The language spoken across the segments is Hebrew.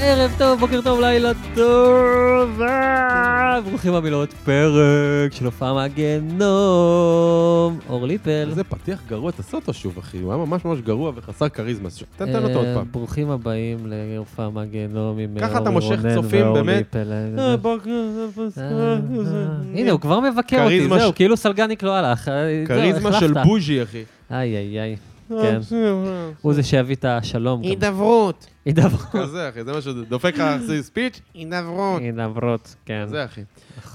ערב טוב, בוקר טוב, לילה טוב, אה, ברוכים הבאים לעוד פרק של הופעה מהגיהנום. אור ליפל. איזה פתיח גרוע, תעשה אותו שוב, אחי. הוא היה ממש ממש גרוע וחסר כריזמה. אז תן תן אותו עוד אה, פעם. ברוכים הבאים להופעה מהגיהנום עם ככה אה, אתה אורי מושך רונן צופים, ואור באמת? ליפל. אה, אה, בוקר, זה אה, פסקה, זה- אה. הנה, הוא כבר מבקר אותי, כריזמה זהו, ש- כאילו סלגניק לא הלך. אה, זהו, כריזמה של החלפת. בוז'י, אחי. איי, איי, איי. כן. אה, הוא זה שיביא את השלום. גם. הידברות. הידברות. כזה, אחי, זה מה שדופק לך ספיץ', הידברות. הידברות, כן. כזה, אחי.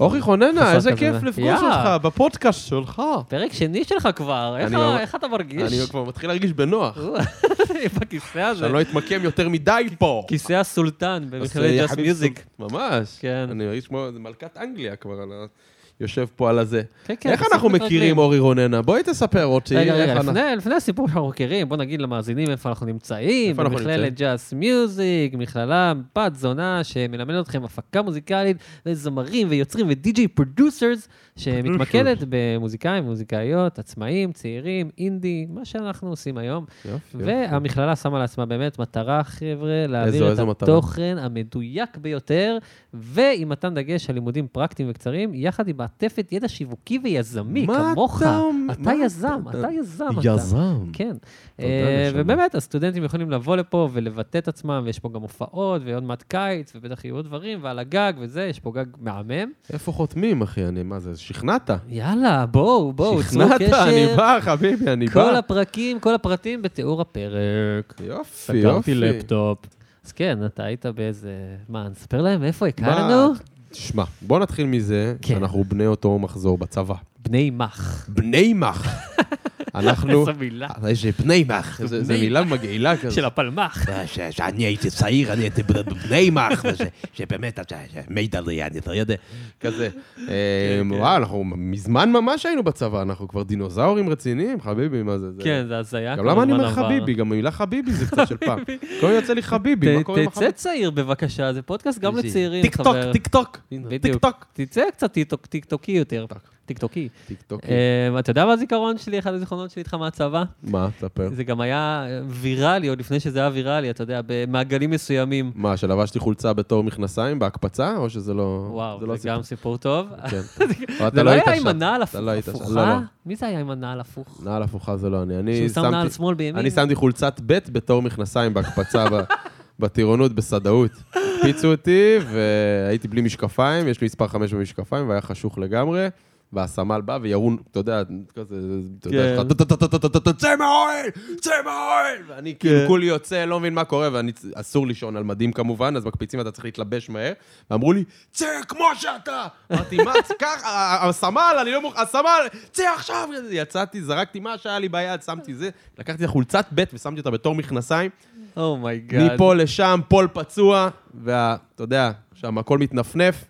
אורי חוננה, איזה חסר כיף כזה. לפגוש יא. אותך בפודקאסט שלך. פרק שני שלך כבר, איך אני ה- ממש- איך אתה מרגיש? אני כבר מתחיל להרגיש בנוח. בכיסא הזה. שאני לא אתמקם יותר מדי פה. כיסא הסולטן אז אה, במכללת זה ג'אסט יחליף מיוזיק. סוג- ממש. כן. אני מרגיש כמו איזה מלכת אנגליה כבר, על ה- יושב פה על הזה. כן, כן, איך בסוף אנחנו מתרגלים. מכירים, אורי רוננה? בואי תספר אותי. רגע, רגע, איך אנחנו- לפני- לפני הסיפור שאנחנו מכירים, בוא נגיד למאזינים איפה אנחנו נמצאים. איפה אנחנו במכללת ג'אס מיוזיק, מכללה בת זונה שמלמדת אתכם הפקה מוזיקלית לזמרים ויוצרים ודי-ג'יי פרודוסרס, שמתמקדת במוזיקאים, מוזיקאיות, עצמאים, צעירים, אינדי, מה שאנחנו עושים היום. יופי, יופי. כן, והמכללה שמה לעצמה באמת מטרה, חבר'ה, כן. איזו- להעביר את איזו מטרה? התוכן המדויק ביותר, ועם מתן דגש על לימודים פרקטיים וקצרים, יחד עם מעטפת ידע שיווקי ויזמי, מה כמוך. אתה אומר? אתה מה יזם, אתה- אתה יזם. אתה. יזם. כן. תודה, אה, נשמה. ובאמת, הסטודנטים יכולים לבוא לפה ולבטא את עצמם, ויש פה גם הופעות, ועוד מעט קיץ, ובטח יהיו עוד דברים, ועל הגג וזה, יש פה גג מהמם. איפה חותמים, אחי? אני, מה זה, שכנעת. יאללה, בואו, בואו, צרו שכנעת, אני קשר. בא, חביבי, אני כל בא. הפרקים, כל הפרטים בתיאור הפרק. יופי, סגרתי יופי. לפטופ. אז כן, אתה היית באיזה... מה, נספר להם איפה הכרנו? מה- שמע, בוא נתחיל מזה כן. שאנחנו בני אותו מחזור בצבא. בני מח. בני מח. אנחנו... אה, איזו מילה. איזה בני מח. זה זה בני מילה מגעילה כזאת. של הפלמח. שאני הייתי צעיר, אני הייתי בני מח, שבאמת, מידע לי, אני לא יודע. כזה. כן, אה, וואו, אנחנו מזמן ממש היינו בצבא, אנחנו כבר דינוזאורים רציניים, חביבי, מה זה? זה- כן, זה הזיה. גם למה אני אומר כמובן, אבל- חביבי? גם המילה חביבי זה קצת של פעם. כל היום יוצא לי חביבי, מה ת- קורה עם תצא החביבי? צעיר בבקשה, זה פודקאסט גם איזי. לצעירים, טיק טוק, חבר. טיק טוק, טיק בדיוק. טוק. תצא קצת טיק-טוק- טיקטוקי יותר. טוק. אוקיי. טיקטוקי. טיק טוק. אמ, אתה יודע מה הזיכרון שלי, אחד הזיכרונות שלי איתך מהצבא? מה, תספר. זה גם היה אה, ויראלי, עוד לפני שזה היה ויראלי, אתה יודע, במעגלים מסוימים. מה, שלבשתי חולצה בתור מכנסיים בהקפצה, או שזה לא... זה לא וואו, זה הסיפור? גם סיפור טוב. כן. אבל אתה זה לא היית היה עם שם. הנעל אתה לא היית שם. לא, הפוכה? לא. מי זה היה עם הנעל הפוך? נעל הפוכה זה לא אני. אני שהוא שם נעל שמתי... שמאל בימין? אני שמתי חולצת ב' בתור מכנסיים בהקפצה ב- בטירונות, בסדאות. הקפיצו אותי, והייתי בלי משקפיים, יש לי מספר חמש במשקפיים, והיה חשוך לגמרי. והסמל בא וירו, אתה יודע, כזה, אתה יודע, כן. "טה-טה-טה-טה-טה-טה, צא מהאוהל, צא מהאוהל! ואני כאילו כולי יוצא, לא מבין מה קורה, ואני, אסור לישון על מדים כמובן, אז מקפיצים, אתה צריך להתלבש מהר. ואמרו לי, צא כמו שאתה! אמרתי, מה, אה, קח, ה- הסמל, אני לא מוכן, הסמל, צא עכשיו! יצאתי, זרקתי מה שהיה לי ביד, שמתי זה, לקחתי את החולצת ב' ושמתי אותה בתור מכנסיים, Oh אומייגאד. מפה לשם, פול פצוע, ואתה יודע, שם הכל מתנפנף,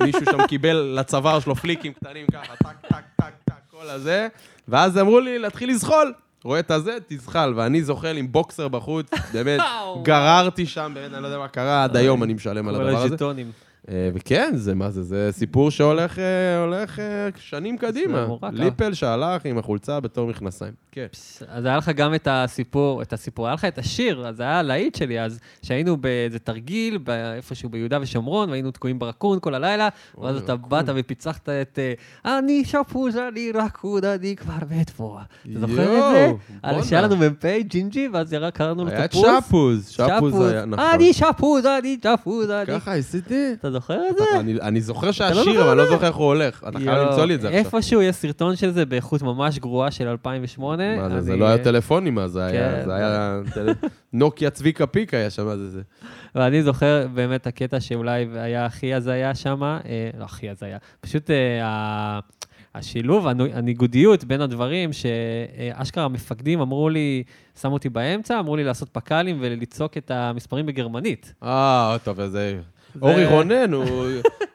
מישהו שם קיבל לצוואר שלו פליקים קטנים ככה, טק, טק, טק, טק, כל הזה, ואז אמרו לי להתחיל לזחול. רואה את הזה, תזחל, ואני זוחל עם בוקסר בחוץ, באמת, גררתי שם, באמת, אני לא יודע מה קרה, עד היום אני משלם על הדבר הזה. הז'יטונים. אה, וכן, זה מה זה, זה סיפור שהולך אה, הולך, אה, שנים קדימה. מורקה. ליפל שהלך עם החולצה בתור מכנסיים. כן. פס, אז היה לך גם את הסיפור, את הסיפור, היה לך את השיר, אז זה היה הלהיט שלי אז, שהיינו באיזה תרגיל, בא- איפשהו ביהודה ושומרון, והיינו תקועים ברקון כל הלילה, ואז אתה באת ופיצחת את אה, אני שפוז, אני רקוד, אני כבר מת פה. אתה זוכר את זה? יואו, על- בואנה. שהיה לנו מ"פ ג'ינג'י, ואז ירק- קראנו לו היה את תפוז. שפוז, שפוז היה, נכון. אני שפוז, אני שפוז, אני... ככה עשיתי. אתה זוכר את זה? אני- אני זוכר לא זוכר שהשיר, אבל אני לא זוכר איך הוא הולך. אתה חייב יואו, למצוא לי את זה עכשיו. איפשהו יש סרטון של זה באיכות ממש גרועה של 2008. מה זה, אני- אה, זה לא היה טלפונים אז, זה כן. היה, זה היה טל- נוקיה צביקה פיק היה שם, זה זה. ואני זוכר באמת הקטע שאולי היה הכי הזיה שם, אה, לא הכי הזיה, פשוט אה, ה- השילוב, הנו- הניגודיות בין הדברים, שאשכרה המפקדים אמרו לי, שמו אותי באמצע, אמרו לי לעשות פק"לים ולצעוק את המספרים בגרמנית. אה, טוב, אז זה... אורי רונן, הוא-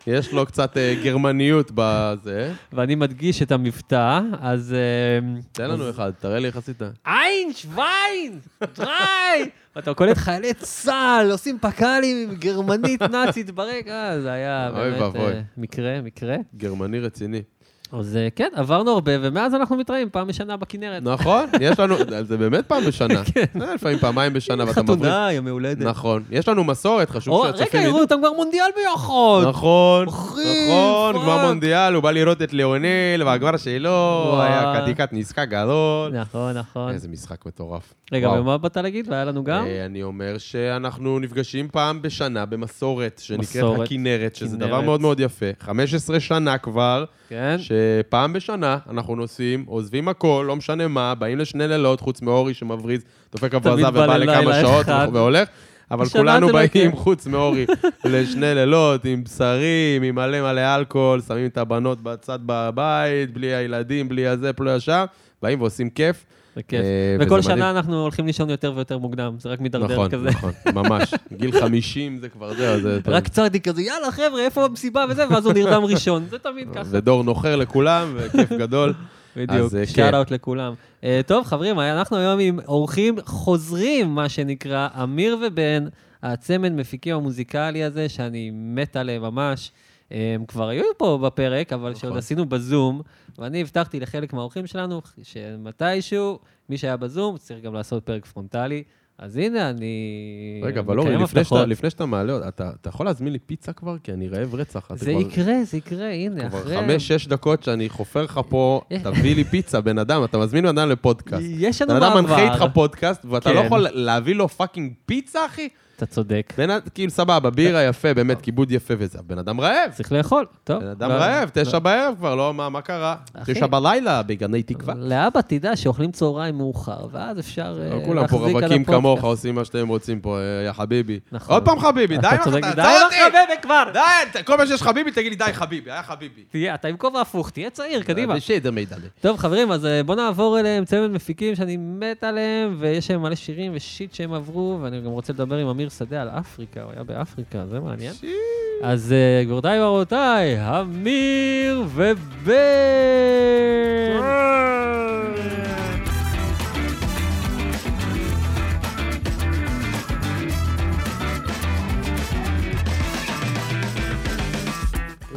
יש לו קצת אה, גרמניות בזה. ואני מדגיש את המבטא, אז... אה, תן לנו אחד, תראה לי איך עשית. אין, שוויין, דריי! ואתה קולט חיילי צה"ל, עושים פק"לים עם גרמנית נאצית ברקע, זה היה אוי באמת ואבוי. אה, מקרה, מקרה. גרמני רציני. אז אה, כן, עברנו הרבה, ומאז אנחנו מתראים פעם בשנה בכנרת. נכון, יש לנו, זה באמת פעם בשנה. אה, לפעמים פעמיים בשנה, ואתה מבריא. כן. חתונה, יום הולדת. נכון. יש לנו מסורת, או, חשוב רגע, שהצופים יראו ידעו. אותם כבר מונדיאל ביחד. נכון, אחי, נכון, פאק. כבר מונדיאל, הוא בא לראות את ליאונל, והגמר שלו, וואי. היה קדיקת נזקה גדול. נכון, נכון. איזה משחק מטורף. רגע, וואו. ומה באת להגיד? והיה לנו גם? אה, אני אומר שאנחנו נפגשים פעם בשנה במסורת, שנקראת מסורת. הכנרת, שזה דבר כנרת. מאוד מאוד יפה. 15 שנה כבר, כן. שפעם בשנה אנחנו נוסעים, עוזבים הכל, לא משנה מה, באים לשני לילות, חוץ מאורי שמבריז, דופק הברזה בא ובא ללילה לכמה שעות אחד. והולך. אבל השנה כולנו זה לא באים, יקרה. חוץ מאורי, לשני לילות, עם בשרים, עם מלא מלא אלכוהול, שמים את הבנות בצד בבית, בלי הילדים, בלי הזה, פלו ישר, באים ועושים כיף. זה כיף. אה, וכל וזה מדהים. שנה אנחנו הולכים לישון יותר ויותר מוקדם, זה רק מידרדר נכון, כזה. נכון, ממש. גיל 50 זה כבר זהו, זה... רק צדיק כזה, יאללה חבר'ה, איפה המסיבה וזה, ואז הוא נרדם ראשון. זה תמיד ככה. זה דור נוחר לכולם, וכיף גדול. בדיוק, אז, אה, שאט כן. אאוט לכולם. אה, טוב, חברים, אנחנו היום עם אורחים חוזרים, מה שנקרא, אמיר ובן, הצמד מפיקים המוזיקלי הזה, שאני מת עליהם ממש. אה, הם כבר היו פה בפרק, אבל נכון. שעוד עשינו בזום, ואני הבטחתי לחלק מהאורחים שלנו שמתישהו, מי שהיה בזום, צריך גם לעשות פרק פרונטלי. אז הנה, אני... רגע, אני אבל אורי, מקיים לפני שאתה- הבטחות. לפני שאתה מעלה, אתה אתה יכול להזמין לי פיצה כבר? כי אני רעב רצח. אתה זה כבר- יקרה, זה יקרה, הנה, כבר אחרי... חמש, שש דקות שאני חופר לך פה, תביא לי פיצה, בן אדם, אתה מזמין בן אדם לפודקאסט. יש לנו בן מעבר. אדם מנחה איתך פודקאסט, ואתה לא כן. יכול להביא לו פאקינג פיצה, אחי? אתה צודק. בן אדם, כאילו, סבבה, בירה יפה, באמת, כיבוד יפה וזה. הבן אדם רעב. צריך לאכול, טוב. בן אדם כן. לא- רעב, לא- תשע בערב כבר, לא, מה מה קרה? אחי. לא- תשע בלילה בגני תקווה. לאבא תדע שאוכלים צהריים מאוחר, ואז אפשר אה, לא, להחזיק על כולם פה הפודקאסט. רווקים כמוך, עושים מה שאתם רוצים פה, אה, יא חביבי. נכון. עוד פעם חביבי, די אתה לך, צודק, אתה די עצר לך, אותי! חביבי כבר! די, כל פעם שיש חביבי, תגיד לי די חביבי, היה חביבי. תהיה, אתה עם כובע הפוך, תהיה צעיר, קדימה. בסדר מידע. כן? לי. טוב, חברים, אז אה, בואו נעבור אליהם, צמד מפיקים שאני מת עליהם, ויש להם מלא שירים ושיט שהם עברו, ואני גם רוצה לדבר עם אמיר שדה על אפריקה, הוא היה באפריקה, זה מעניין. אז אה, גבירותיי ורבותיי, אמיר ובן! אה!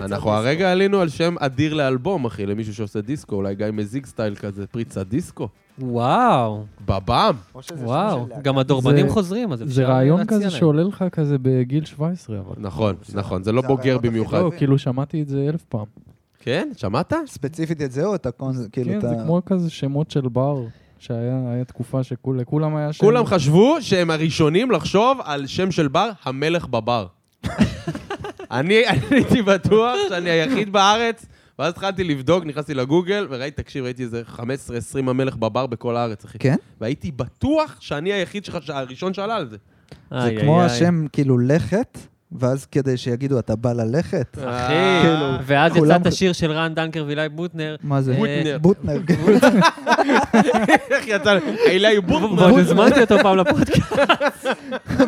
אנחנו הרגע עלינו על שם אדיר לאלבום, אחי, למישהו שעושה דיסקו, אולי גיא מזיג סטייל כזה, פריצה דיסקו. וואו, בבם. או שזה שם וואו, של להקה. גם הדורבנים זה- חוזרים, אז אפשר זה רעיון להציע כזה להם. שעולה לך כזה בגיל 17, אבל... נכון, נכון, זה לא זה בוגר הרעיונות הכי אוקיי. במיוחד. לא, חייבים. כאילו שמעתי את זה אלף פעם. כן, שמעת? ספציפית את זה או את הקונס... כאילו כן, את זה ה... כמו כזה שמות של בר, שהיה היה תקופה שכולם היה שם... כולם חשבו שהם הראשונים לחשוב על שם של בר, המלך בבר. אני אני הייתי בטוח שאני היחיד בארץ, ואז התחלתי לבדוק, נכנסתי לגוגל, וראיתי, תקשיב, ראיתי איזה 15-20 המלך בבר בכל הארץ, אחי. כן? והייתי בטוח שאני היחיד שלך, הראשון שעלה על זה. זה איי, כמו איי, השם כאילו לכת, ואז כדי שיגידו, אתה בא ללכת? אחי, כאילו, ואז יצא כולם- את השיר של רן דנקר ואילי בוטנר. אה, מה זה? כן. בוטנר. בוטנר. איך יצא לי? אילי בוטמן. ועוד הזמנתי אותו פעם לפודקאסט,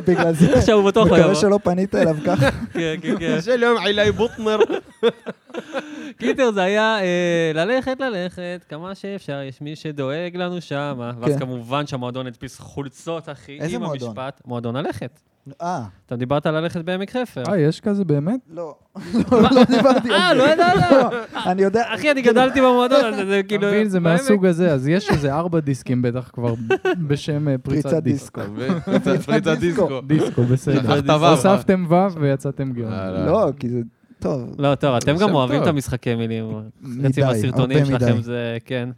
בגלל זה. עכשיו הוא בטוח לא מקווה יבוא. שלא פנית אליו ככה. כן, כן, כן. של יום לא, אילי בוטנר. קיצר, זה היה אה, ללכת, ללכת, כמה שאפשר, יש מי שדואג לנו שם. ואז כן. כמובן שהמועדון הדפיס חולצות, אחי, איזה עם מועדון? המשפט. מועדון הלכת. אה, אתה דיברת על ללכת בעמק חפר. אה, יש כזה באמת? לא. לא לא דיברתי על אה, זה. לא ידעת? אני יודע. אחי, אני גדלתי במועדון הזה, זה אתה כאילו... מבין, זה בעמק. מהסוג הזה, אז יש איזה ארבע דיסקים בטח כבר בשם אה, פריצת פריצת דיסק. דיסקו. פריצת דיסקו. דיסקו, בסדר. שכחת ו', הוספתם ו' ויצאתם אה, גאון. לא, כי זה... טוב. לא, טוב, אתם גם שם אוהבים טוב. את המשחקי מילים. חצי מדי, מהסרטונים הרבה שלכם מדי. זה... כן,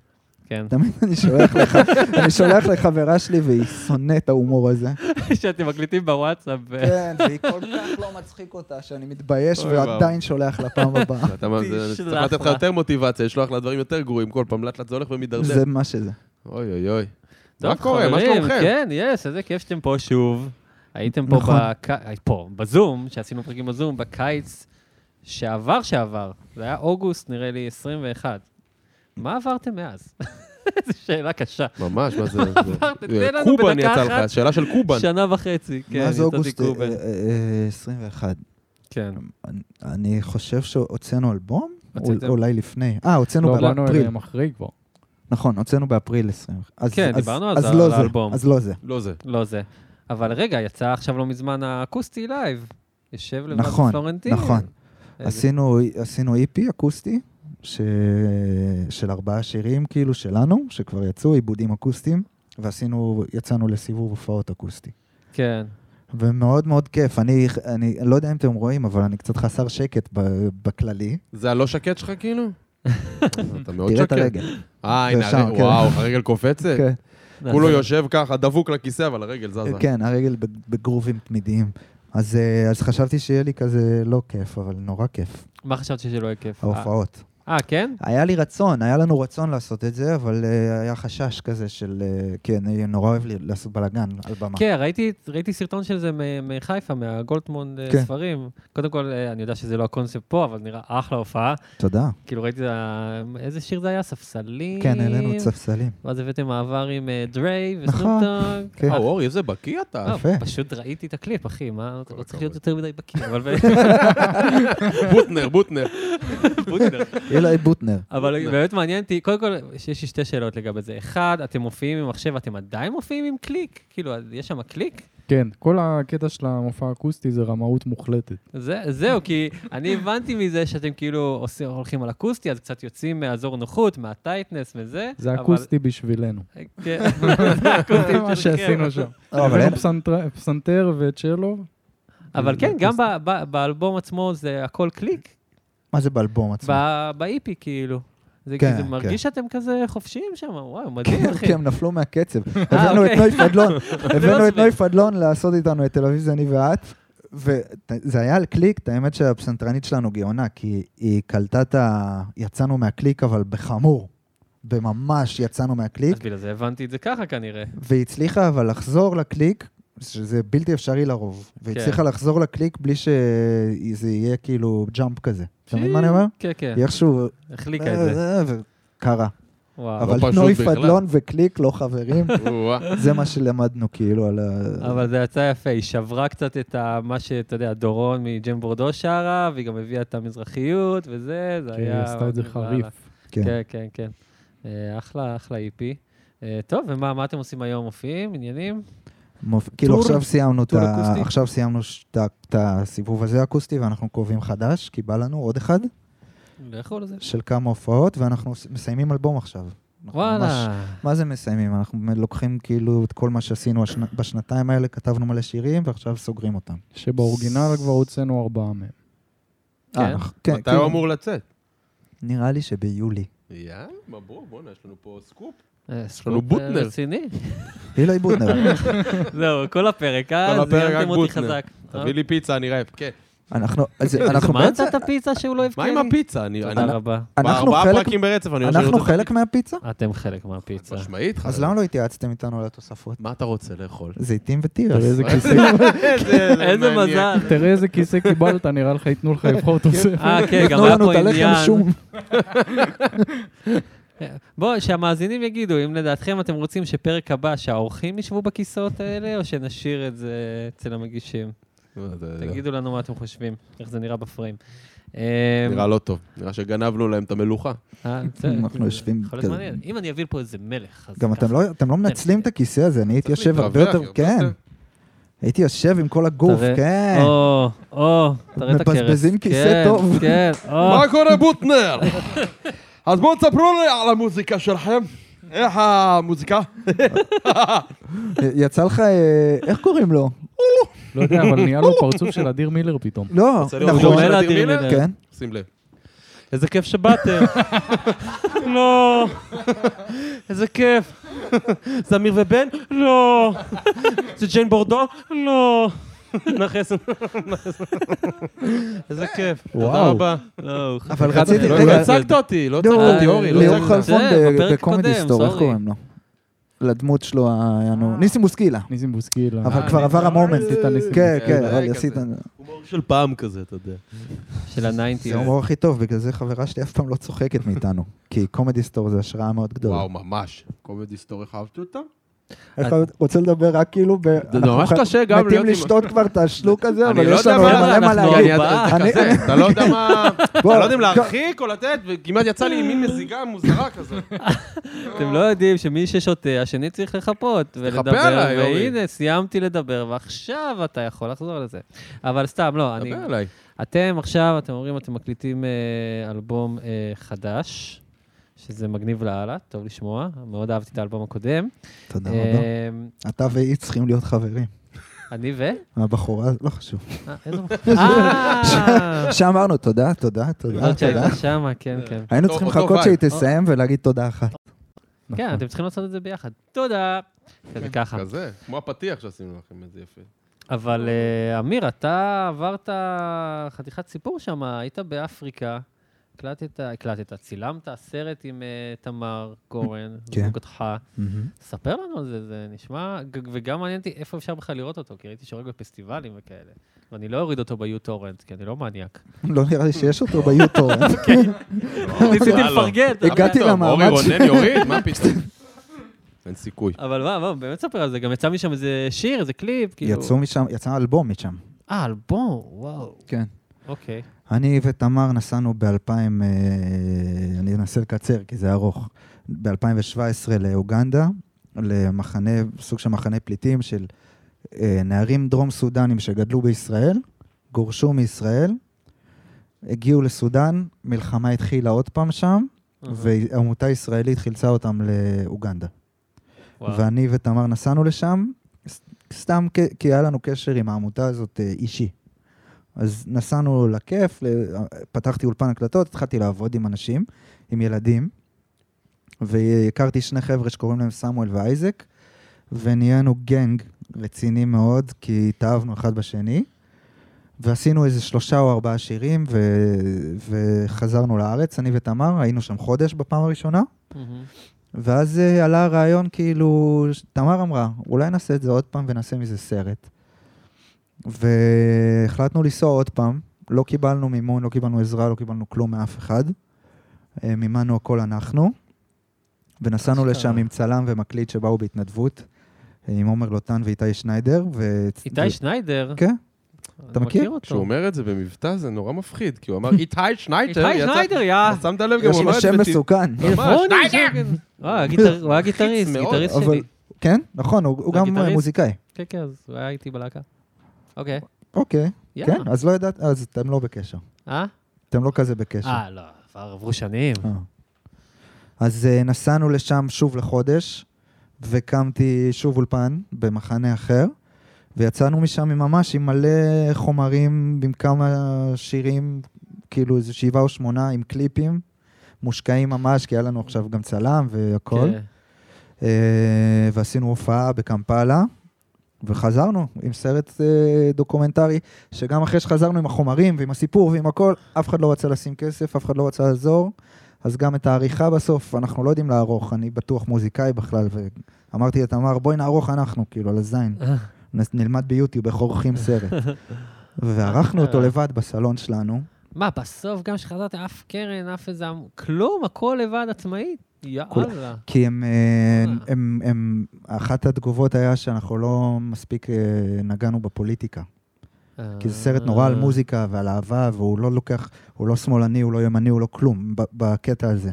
כן. תמיד אני שולח לך, אני שולח לחברה שלי והיא שונאת את ההומור הזה. שאתם מקליטים בוואטסאפ. אה, ו- כן, והיא כל כך לא מצחיק אותה שאני מתבייש אוי, וואו. ועדיין שולח לה פעם הבאה. אתה מה, זה- צריך תשלח לתת לך לה. יותר מוטיבציה, לשלוח לה דברים יותר גרועים כל פעם, לאט לאט זה הולך ומידרדר. זה מה שזה. אוי אוי אוי. טוב, מה קורה? מה חברים, שלומכם? כן, יש, איזה כיף שאתם פה שוב. הייתם פה, נכון. בק... אה, פה בזום, שעשינו פרקים בזום, בקיץ שעבר שעבר. זה היה אוגוסט, נראה לי, 21. מה עברתם מאז? זו שאלה קשה. ממש, מה זה? עברת, זה- תן לנו קובן בדקה יצא אחת. לך, שאלה של קובן. שנה וחצי, כן, מאז יצאתי אוגוסט אה, קובה. אה, אה, 21. כן. אני- אני חושב שהוצאנו אלבום? הוצאתם. אול- אולי לפני. אה, הוצאנו לא, באנו באפריל. אליהם אחרי כבר. נכון, הוצאנו באפריל 20. אז- כן, אז- דיברנו על אז זה, לא על זה, האלבום. אז לא זה. לא זה. לא זה. אבל רגע, יצא עכשיו לא מזמן האקוסטי לייב. יושב לבד נכון, פלורנטין. נכון. איזה- עשינו- עשינו איפי E אקוסטי, ש... של ארבעה שירים, כאילו, שלנו, שכבר יצאו, עיבודים אקוסטיים, ועשינו, יצאנו לסיבוב הופעות אקוסטי. כן. ומאוד מאוד כיף. אני, אני לא יודע אם אתם רואים, אבל אני קצת חסר שקט ב- בכללי. זה הלא שקט שלך כאילו? אתה מאוד תראה את שקט. הרגל. אה, הנה, ושם, הרגל- כן. וואו, הרגל קופצת? כן. כולו יושב ככה, דבוק לכיסא, אבל הרגל זזה. כן, הרגל בג- בגרובים תמידיים. אז, אה, אז חשבתי שיהיה לי כזה לא כיף, אבל נורא כיף, מה חשבת שלא יהיה כיף? ההופעות. אה, כן? היה לי רצון, היה לנו רצון לעשות את זה, אבל אה, היה חשש כזה של... אה, כי אני נורא אוהב לי- לעשות בלאגן על במה. כן, ראיתי- ראיתי סרטון של זה מ- מחיפה, מהגולדמונד אה, כן. ספרים. קודם כל, אה, אני יודע שזה לא הקונספט פה, אבל נראה אחלה הופעה. תודה. כאילו ראיתי, את ה- איזה שיר זה היה? ספסלים? כן, אה, העלינו את ספסלים. ואז הבאתם מעבר עם אה, דרי נכון, וסנופטוג. כן. וואו, אה, אורי, איזה בקיא אתה. לא, יפה. פשוט ראיתי את הקליפ, אחי, מה, אתה לא צריך הכבוד. להיות יותר מדי בקיא, אבל... בוטנר, בוטנר. אילי בוטנר. אבל באמת מעניין אותי, קודם כל, יש לי שתי שאלות לגבי זה. אחד, אתם מופיעים עם מחשב, אתם עדיין מופיעים עם קליק? כאילו, אז יש שם קליק? כן, כל הקטע של המופע האקוסטי זה רמאות מוחלטת. זה, זהו, כי אני הבנתי מזה שאתם כאילו עושים, הולכים על אקוסטי, אז קצת יוצאים מהאזור נוחות, מהטייטנס וזה. זה אבל- אקוסטי בשבילנו. כן, זה אקוסטי זה מה שלכם. שעשינו שם. לא, אבל הבאנו אין- פסנטר- פסנתר וצ'לו. אבל כן, גם אקוסטי. ב- ב- באלבום עצמו זה הכל קליק, מה זה באלבום עצמו? ב- באיפי כאילו. זה כן, כאילו, זה כן. מרגיש שאתם כזה חופשיים שם, וואו, מדהים, כן, אחי. כי הם נפלו מהקצב. הבאנו את אוקיי. נוי פדלון, הבאנו את עצבן. נוי פדלון לעשות איתנו את תל אביב זה אני ואת, וזה היה על קליק, את האמת שהפסנתרנית שלנו גאונה, כי היא קלטה את ה... יצאנו מהקליק, אבל בחמור. בממש יצאנו מהקליק. אז בגלל זה הבנתי את זה ככה כנראה. והיא הצליחה אבל לחזור לקליק, שזה בלתי אפשרי לרוב, והיא כן. הצליחה לחזור לקליק בלי שזה יהיה כאילו ג'אמפ כזה. אתה מבין מה אני אומר? כן, כן, היא איכשהו... החליקה את זה. לא אה, אה, וקרה. וואו. אבל פשוט נוי בכלל. פדלון וקליק לא חברים, וואו. זה מה שלמדנו כאילו על ה... אבל זה יצא יפה, היא שברה קצת את ה- מה שאתה יודע, דורון מג'ם בורדו שרה, והיא גם הביאה את המזרחיות וזה, זה כי היה... כן, היא עשתה את זה וואלה. חריף. כן. כן, כן, כן. אה, אחלה, אחלה איפי. אה, טוב, ומה מה אתם עושים היום? מופיעים? עניינים? מופ- כאילו טור- עכשיו סיימנו את טור ה- אקוסטי? עכשיו סיימנו ש- את ה- את הסיבוב הזה האקוסטי, ואנחנו קובעים חדש, כי בא לנו עוד אחד לכו לזה. של כמה הופעות, ואנחנו ס- מסיימים אלבום עכשיו. אנחנו ממש וואלה. מה זה מסיימים? אנחנו באמת לוקחים כאילו את כל מה שעשינו השנ... בשנתיים האלה, כתבנו מלא שירים, ועכשיו סוגרים אותם. שבאורגינל כבר הוצאנו ארבעה מהם. כן. אה, אנחנו- כן, מתי כאילו, הוא אמור לצאת? נראה לי שביולי. יאללה, מברוק, בואנה, יש לנו פה סקופ. אה, לנו סקופ, בוטנר. אה, רציני. אילי בודנר. זהו, כל הפרק, אה? כל הפרק זיימתם רק אותי בוטנר. חזק. אה? תביא לי פיצה, אני רעב. כן. אנחנו, אז אנחנו מה בעצם, נתת פיצה שהוא לא הבקיע מה לי? עם הפיצה? אני... אני- לא- תודה רבה. אנחנו בארבעה חלק- פרקים ברצף, אני רוצה אנחנו לראות חלק מהפיצה? אתם חלק מהפיצה. משמעית, חלק. אז למה לא התייעצתם איתנו על התוספות? מה אתה רוצה לאכול? זיתים תראה ותירס. איזה כיסא- איזה מזל. תראה איזה כיסא קיבלת, נראה לך ייתנו לך לבחור תוספת. אה, כן, גם נתנו היה לנו פה את הלחם עניין. שום. בואו, שהמאזינים יגידו, אם לדעתכם אתם רוצים שפרק הבא, שהאורחים ישבו בכיסאות האלה, או שנשאיר את זה אצל המגישים? לא, תגידו לנו מה אתם חושבים, איך זה נראה בפריים. אה, נראה לא טוב. נראה שגנבנו להם את המלוכה. אה, בסדר, אנחנו זה יושבים יכול להיות כזה. מעניין. אם אני אביא לפה איזה מלך, אז גם אתם ככה. לא- אתם לא מנצלים את הכיסא הזה, אני הייתי צריך יושב הרבה להתרווח, יותר, הרבה כן. יותר. הייתי יושב עם כל הגוף, תראה. כן. או, או, תראה את הכרס. מבזבזים כיסא כן, טוב. כן, או. מה קורה בוטנר? אז בואו תספרו לי על המוזיקה שלכם. איך המוזיקה? יצא לך, אה, איך קוראים לו? לא יודע, אבל נהיה לו פרצוף של אדיר מילר פתאום. לא, רוצה לראות נכון. של אלה אדיר אדיר מילר? מילר. כן. שים לב. איזה כיף שבאתם. לא. איזה כיף. זה אמיר ובן? לא. זה ג'יין בורדו? לא. נכס. איזה כיף. תודה רבה. לא, אבל רציתי, לא רגע, לא הצגת אותי, לא לא, הצגת אותי, אורי. לא ליאור הצגת. חלפון זה, ב- בפרק בקומדי קודם, סטור, איך סורי. קוראים לו? לדמות שלו, היה נו, ניסים בוסקילה. ניסים בוסקילה. אבל אה, כבר עבר המומנט. עשית ניסים. כן, כן, כן, זה אבל היה עשית... כזה. הומור של פעם כזה, אתה יודע. של זה הניינטיז. ההומור הכי טוב, בגלל זה חברה שלי אף פעם לא צוחקת מאיתנו. כי קומדי סטור זה השראה מאוד גדולה. וואו, ממש. קומדי סטורי, איך אהבתי אותה? איך אתה רוצה לדבר רק כאילו, ב- אנחנו ממש ח- קשה גם מתים להיות עם- לשתות כבר את השלוק הזה, אני אבל לא יש יודע לנו מה מלא מה אנחנו- להגיד. אני- אתה אני- כזה, אתה לא יודע מה... אתה בוא, לא יודע אם גם- להרחיק או לתת, וכמעט יצא לי עם מין מזיגה מוזרה כזאת. אתם לא יודעים שמי ששותה, השני צריך לחפות ולדבר, עליי, אורי. והנה, סיימתי לדבר, ועכשיו אתה יכול לחזור לזה. אבל סתם, לא, אני... דבר אליי. אתם עכשיו, אתם אומרים, אתם מקליטים אה, אלבום אה, חדש, שזה מגניב לאללה, טוב לשמוע, מאוד אהבתי את האלבום הקודם. תודה רבה. אה, אתה והיא צריכים להיות חברים. אני ו... הבחורה, לא חשוב. אה, איזה... אה! שאמרנו תודה, תודה, תודה, זאת תודה. שהייתה שמה, כן, כן. היינו אה, אותו- צריכים אותו אה. לחכות וייב. שהיא תסיים ולהגיד תודה אחת. כן, נכון. אתם צריכים לעשות את זה ביחד. תודה. כזה ככה. כזה, כמו הפתיח שעשינו לכם, איזה יפה. אבל אה, אמיר, אתה עברת חתיכת סיפור שם, היית באפריקה, הקלטת, הקלטת, צילמת סרט עם אה, תמר גורן, כן. זוגתך. מהמם. ספר לנו על זה, זה נשמע, ג- וגם מעניין אותי איפה אפשר בכלל לראות אותו, כי ראיתי שורק בפסטיבלים וכאלה. ואני לא אוריד אותו ביוטורנט, כי אני לא מניאק. לא נראה לי שיש אותו ביוטורנט. ניסיתי לפרגן. הגעתי טוב, למעמד אורי ש- רונן יוריד, מה פתאום? אין סיכוי. אבל מה, מה, באמת ספר על זה, גם יצא משם איזה שיר, איזה קליפ, כאילו... יצאו משם, יצא אלבום משם. אה, אלבום, וואו. כן. אוקיי. אני ותמר נסענו ב-2000, אני אנסה לקצר כי זה ארוך, ב-2017 לאוגנדה, למחנה, סוג של מחנה פליטים של אה, נערים דרום סודנים שגדלו בישראל, גורשו מישראל, הגיעו לסודאן, מלחמה התחילה עוד פעם שם, ועמותה ישראלית חילצה אותם לאוגנדה. וואו. ואני ותמר נסענו לשם, ס- סתם כ- כי היה לנו קשר עם העמותה הזאת אה, אישי. אז נסענו לכיף, ל- אה, פתחתי אולפן הקלטות, התחלתי לעבוד עם אנשים, עם ילדים, והכרתי שני חבר'ה שקוראים להם סמואל ואייזק, ונהיינו גנג רציני מאוד, כי התאהבנו אחד בשני, ועשינו איזה שלושה או ארבעה שירים, ו... וחזרנו לארץ, אני ותמר, היינו שם חודש בפעם הראשונה. מהמם. ואז אה, עלה הרעיון, כאילו, ש- תמר אמרה, אולי נעשה את זה עוד פעם ונעשה מזה סרט. והחלטנו לנסוע עוד פעם, לא קיבלנו מימון, לא קיבלנו עזרה, לא קיבלנו כלום מאף אחד. אה, מימנו הכל אנחנו, ונסענו אשכרה. לשם עם צלם ומקליט שבאו בהתנדבות, אה, עם עומר לוטן ואיתי שניידר. ו... איתי שניידר. כן. אני אתה מכיר? אותו. כשהוא אומר את זה במבטא זה נורא מפחיד, כי הוא אמר איתי איתי שניידר, יצא- שניידר, יא. אז שמת לב גם יש הוא אמר לו את זה שם בטבעי. מסוכן. יבוני, שניידר! כן. אה, הגיטר- הוא היה גיטריסט, מאוד. גיטריסט אבל- שלי. כן, נכון, הוא הוא גם אה, הגיטריסט? מוזיקאי. כן, כן, אז הוא היה איתי בלהקה. אוקיי. אוקיי, יא. כן, אז לא ידעת, אז אתם לא בקשר. אה? אתם לא כזה בקשר. אה, לא, כבר עברו שנים. אה. אז אה, נסענו לשם שוב לחודש, וקמתי שוב אולפן במחנה אחר, ויצאנו משם עם ממש עם מלא חומרים, עם כמה שירים, כאילו איזה שבעה או שמונה, עם קליפים, מושקעים ממש, כי היה לנו עכשיו גם צלם והכל. כן. אה, ועשינו הופעה בקמפאלה, וחזרנו עם סרט אה, דוקומנטרי, שגם אחרי שחזרנו עם החומרים ועם הסיפור ועם הכל, אף אחד לא רצה לשים כסף, אף אחד לא רצה לעזור, אז גם את העריכה בסוף, אנחנו לא יודעים לערוך, אני בטוח מוזיקאי בכלל, ואמרתי לתמר, בואי נערוך אנחנו, כאילו, על הזין. נ- נלמד ביוטיוב איך עורכים סרט. וערכנו אותו לבד בסלון שלנו. מה, בסוף גם כשחזרת אף קרן, אף איזה... עמ- כלום, הכל לבד עצמאית? יאללה. כי הם, אה, אה. הם, הם, אחת התגובות היה שאנחנו לא מספיק אה, נגענו בפוליטיקה. כי זה סרט נורא על אה, מוזיקה ועל אהבה, והוא לא לוקח, הוא לא שמאלני, הוא לא ימני, הוא לא כלום, ב- בקטע הזה.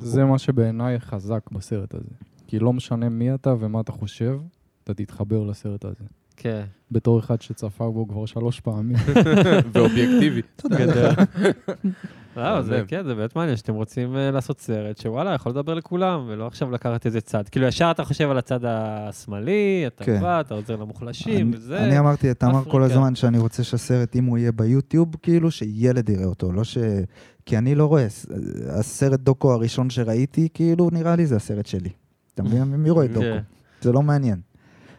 זה מה שבעיניי חזק בסרט הזה. כי לא משנה מי אתה ומה אתה חושב, אתה תתחבר לסרט הזה. כן. בתור אחד שצפה בו כבר שלוש פעמים. ואובייקטיבי. גדול. לא, זה מהמם. כן, זה באמת מעניין שאתם רוצים אה, לעשות סרט שוואלה, יכול לדבר לכולם, ולא עכשיו לקחת איזה צד. כאילו, ישר אתה חושב על הצד השמאלי, אתה כן. בא, אתה עוזר למוחלשים, אני- וזה... אני אמ- אמרתי לתמר כל אפריקה. הזמן שאני רוצה שהסרט, אם הוא יהיה ביוטיוב, כאילו, שילד יראה אותו, לא ש... כי אני לא רואה, ס- הסרט דוקו הראשון שראיתי, כאילו, נראה לי זה הסרט שלי. אתה מבין? מי רואה דוקו? כן. זה לא מעניין.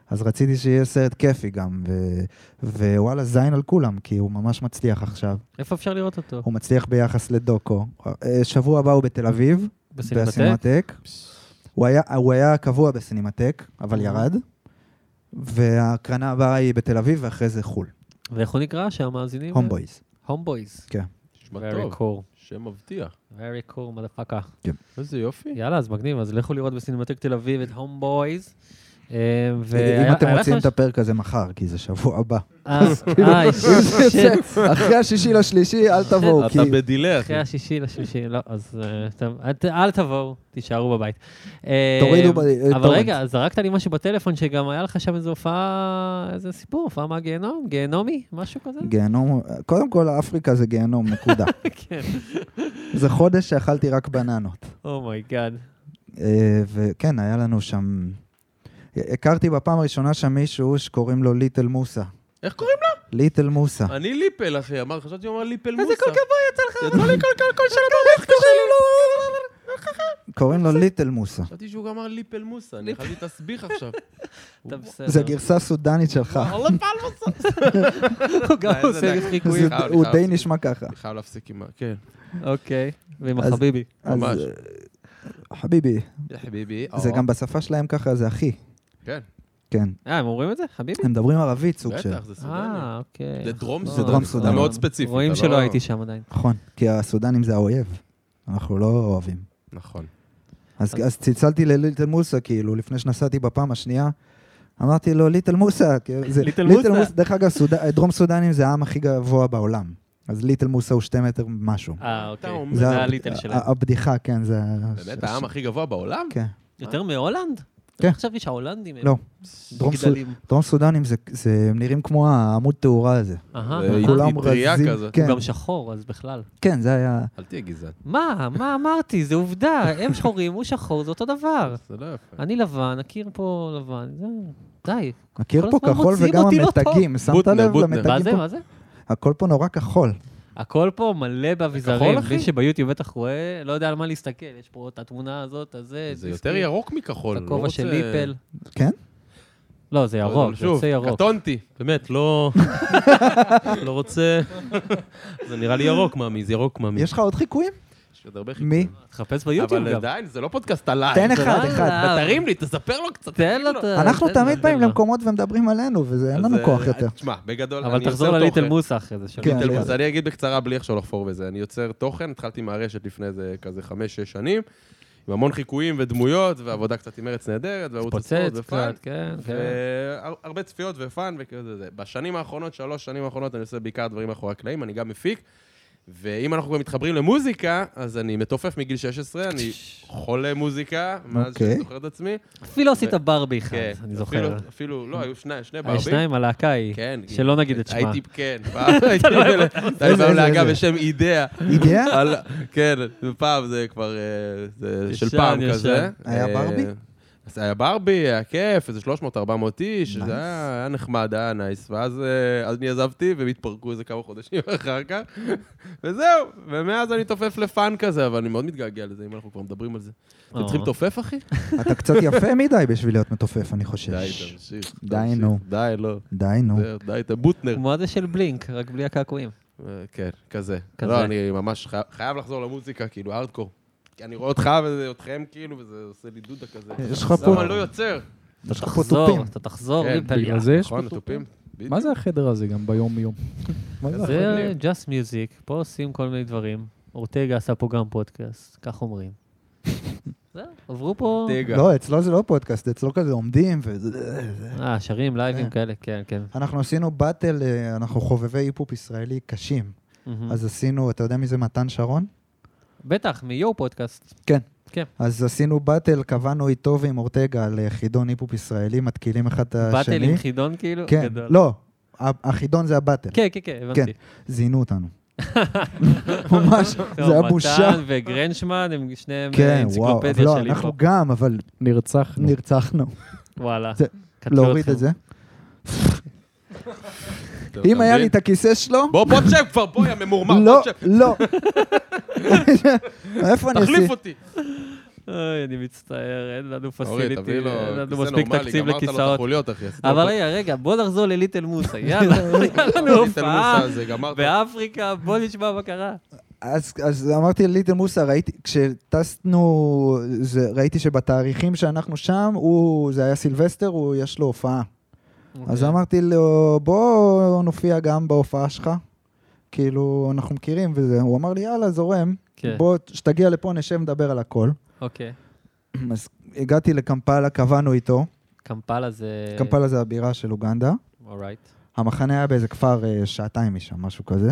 אז רציתי שיהיה סרט כיפי גם, ו- ווואלה, זין על כולם, כי הוא ממש מצליח עכשיו. איפה אפשר לראות אותו? הוא מצליח ביחס לדוקו. אה, שבוע הבא הוא בתל אביב. בסינמטק? בסינמטק. הוא היה, הוא היה קבוע בסינמטק, Mm-hmm. אבל ירד, וההקרנה הבאה היא בתל אביב, ואחרי זה חו"ל, Mm-hmm. ואיך הוא נקרא שהמאזינים? הומבויז. הומבויז. נשמע Very טוב, cool. שם מבטיח. Very cool, מדפקה. איזה יופי. יאללה, אז מגניב, אז לכו לראות בסינמטק תל אביב את הומבויז. אה, והיה- אם אתם היה לך אה, מוציאים מש- את כאילו, הפרק הזה מחר, כי זה שבוע הבא. אז- איי, שיט, אחרי השישי לשלישי, אל תבואו, כי... אתה בדילי, אחי. אחרי השישי לשלישי, לא, אז אה, אתם- את- אל תבואו, תישארו בבית. אה, תורידו ב- אבל טורנט. רגע, זרקת לי משהו בטלפון, שגם היה לך שם איזו הופעה, איזה סיפור, הופעה מהגיהנום, גיהנומי, משהו כזה? גיהנום, קודם כל, אפריקה זה גיהנום, נקודה. כן. זה חודש שאכלתי רק בננות. Oh אומייגאד. אה, וכן, היה לנו שם... הכרתי בפעם הראשונה שם מישהו שקוראים לו ליטל מוסה. איך קוראים ליטל מוסה. לה? אני ליפל, אחי. אמר, חשבתי שהוא אמר ליפל מוסה. איזה קול גבוה יצא לך? יצא לי קול קול של קוראים לו ליטל מוסה. חשבתי שהוא גם אמר ליפל מוסה. אני חייב להתסביך עכשיו. אתה בסדר. זה גרסה סודנית שלך. וואלה, פלמוסה. הוא גם איזה עושה דק. חיקויים. זה- חייב, הוא חייב. די נשמע ככה. אני חייב להפסיק עם ה... כן. אוקיי, ועם אז- החביבי. אז, ממש. אה, חביבי, יא חביבי. זה אה. גם בשפה שלהם ככה, זה אחי. כן. כן. אה, הם אומרים את זה? חביבי? הם מדברים ערבית סוג של. בטח, זה סודני. אה, אוקיי. זה דרום נכון. סודני. דרום נכון. סודני. זה מאוד ספציפי. רואים אתה שלא לא- הייתי שם עדיין. נכון, כי הסודנים זה האויב. אנחנו לא אוהבים. נכון. אז, אז- אז צלצלתי לליטל מוסה, כאילו, לפני שנסעתי בפעם השנייה, אמרתי לו, ליטל מוסה. כאילו, זה- ליטל מוסה. דרך אגב, סוד... דרום סודנים זה העם הכי גבוה בעולם. אז ליטל מוסה הוא שתי מטר משהו. אה, אוקיי. אומר- זה ה- הליטל ה- שלהם. הבדיחה, כן, זה... באמת, העם הכי גבוה בעולם? כן. יותר מהולנד? כן. חשבתי שההולנדים הם לא, דרום סוד- מגדלים. דרום סודנים זה, זה, הם נראים כמו העמוד תאורה הזה. אהה. זה- אה, כולם אטריה רזים. כזאת. כן, הוא גם שחור, אז בכלל. כן, זה היה... אל תהיה גזען. מה? מה אמרתי? זה עובדה. הם שחורים, הוא שחור, זה אותו דבר. זה לא יפה. אני לבן, הקיר פה לבן. זהו. די. מכיר כל פה הזמן כחול מוציאים וגם אותי לא המתגים, שמת בוטנר, לב בוטנר. מה למתגים זה? פה? מה זה? הכל פה נורא כחול. הכל פה מלא באביזרים. כחול, אחי? מי שביוטיוב בטח רואה, לא יודע על מה להסתכל. יש פה את התמונה הזאת, הזה. זה דיסקים, יותר ירוק מכחול. את לא הכובע רוצה- של ליפל. כן? לא, זה לא, ירוק, לא, זה שוב, יוצא ירוק. קטונתי. באמת, לא... לא רוצה... זה נראה לי ירוק, מאמי. זה ירוק, מאמי. יש לך עוד חיקויים? יש עוד הרבה חיקויים. מי? תחפש ביוטיוב אבל גם. עדיין, זה לא פודקאסט עליי. תן זה אחד, לא אחד. עליו. תרים לי, תספר לו קצת. תן לו את ה... אנחנו תן לו, תמיד תן באים לו. למקומות ומדברים עלינו, וזה אין לנו אז, כוח אה, יותר. תשמע, בגדול, אבל אני תחזור יוצר לליטל תוכן. מוסה אחרי זה. שלא כן, נתעלם. ליטל אז אני אגיד בקצרה, בלי עכשיו לחפור בזה. אני יוצר תוכן, התחלתי מהרשת לפני איזה כזה חמש-שש שנים, עם המון חיקויים ודמויות, ועבודה קצת עם ארץ נהדרת, וערוץ הספורט פוצץ ופאן, קצת, כן, כן. והרבה צפיות ופאן וכזה זה. בשנים האחרונות, שלוש שנים האחרונות, אני עושה בעיקר דברים מאחורי הקלעים, אני גם מפיק, ואם אנחנו גם מתחברים למוזיקה, אז אני מתופף מגיל 16, אני חולה מוזיקה, מאז שאני אוקיי. זוכר את עצמי. אפילו עשית ברבי אחד, כן, אני זוכר. אפילו- אפילו, לא, היו שני שני היה ברבים. שניים, הלהקה ההיא. כן. שלא נגיד את שמה. הייתי, כן, פעם לא הייתי ב- הייתי איזה, פעם להקה איזה? בשם אידאה. אידאה? על- כן, פעם זה כבר, אה, זה ישן, של פעם ישן. כזה. היה אה, ברבי? אז היה ברבי, היה כיף, איזה 300-400 איש, Nice. זה היה היה נחמד, היה נייס. ואז אה, אז אני עזבתי, והם התפרקו איזה כמה חודשים אחר כך, וזהו. ומאז אני תופף לפאן כזה, אבל אני מאוד מתגעגע לזה, אם אנחנו כבר מדברים על זה. אתם אה. צריכים לתופף, אחי? אתה קצת יפה מדי בשביל להיות מתופף, אני חושב. די, תמשיך. די, תמשיך. נו. די, לא. די, נו. זהו, די, אתה בוטנר. כמו הזה של בלינק, רק בלי הקעקועים. אה, כן, כזה. כזה. לא, אני ממש חי- חייב לחזור למוזיקה, כאילו, הארדקור. כי אני רואה אותך ואתכם, כאילו, וזה עושה לי דודה כזה. יש לך פה- למה לא יוצר? אתה לך פה תחזור, תופים. אתה תחזור, כן, ליפליה. בגלל זה יש נכון, פה התופים? מה זה החדר הזה גם ביום-יום? מה זה? זה Just Music, פה עושים כל מיני דברים. אורטגה עשה פה גם פודקאסט, כך אומרים. זהו, עברו פה... תגע. לא, אצלו זה לא פודקאסט, אצלו כזה עומדים וזה... אה, שרים, לייבים כן. כאלה, כן, כן. אנחנו עשינו באטל, אה, אנחנו חובבי היפ-הופ ישראלי קשים. מהמם. אז עשינו, אתה יודע מי זה מתן שרון? בטח, מיו פודקאסט. אז עשינו באטל, קבענו איתו ועם אורטגה על אה, חידון היפ-הופ ישראלי, מתקילים אחד את השני. באטל עם חידון כאילו? כן, גדול. לא, ה- החידון זה הבאטל. כן, כן, כן, הבנתי. זינו אותנו. ממש, זה היה טוב, בושה. לא, מתן וגרנשמן הם שניהם כן, וואו. אבל אנציקלופדיה לא, של היפו. אנחנו גם, אבל נרצחנו. נרצחנו. וואלה. זה- קטלו להוריד אתכם. את זה. טוב, אם אתה היה לי מבין? את הכיסא שלו, בוא, בוא תשב כבר, בוא, יא ממורמר, לא, בוא תשב. לא. איפה אני תחליף אשים? אותי. אוי, אני מצטער, אין לנו אורי, פסיליטי, תביא לו אין לנו כיסא מספיק נורמלי, תקציב גמרת לו את לכיסאות. החוליות, אחי. עשית אבל אותו- רגע, רגע, בוא נחזור לליטל מוסה, יאללה, יאללה, לנו עשית לנו הופעה מוסה, זה גמרת. באפריקה, בוא נשמע מה קרה. אז אז אמרתי לליטל מוסה, ראיתי, כשטסנו, זה- ראיתי שבתאריכים שאנחנו שם, הוא- זה היה סילבסטר, הוא- יש לו הופעה. אוקיי. אז אמרתי לו, בוא נופיע גם בהופעה שלך. כאילו, אנחנו מכירים וזה. הוא אמר לי, יאללה, זורם. כן. בוא, כשתגיע לפה נשב, נדבר על הכל. אוקיי, אז הגעתי לקמפלה, קבענו איתו. קמפאלה זה... קמפאלה זה הבירה של אוגנדה. אורייט. המחנה היה באיזה כפר אה, שעתיים משם, משהו כזה.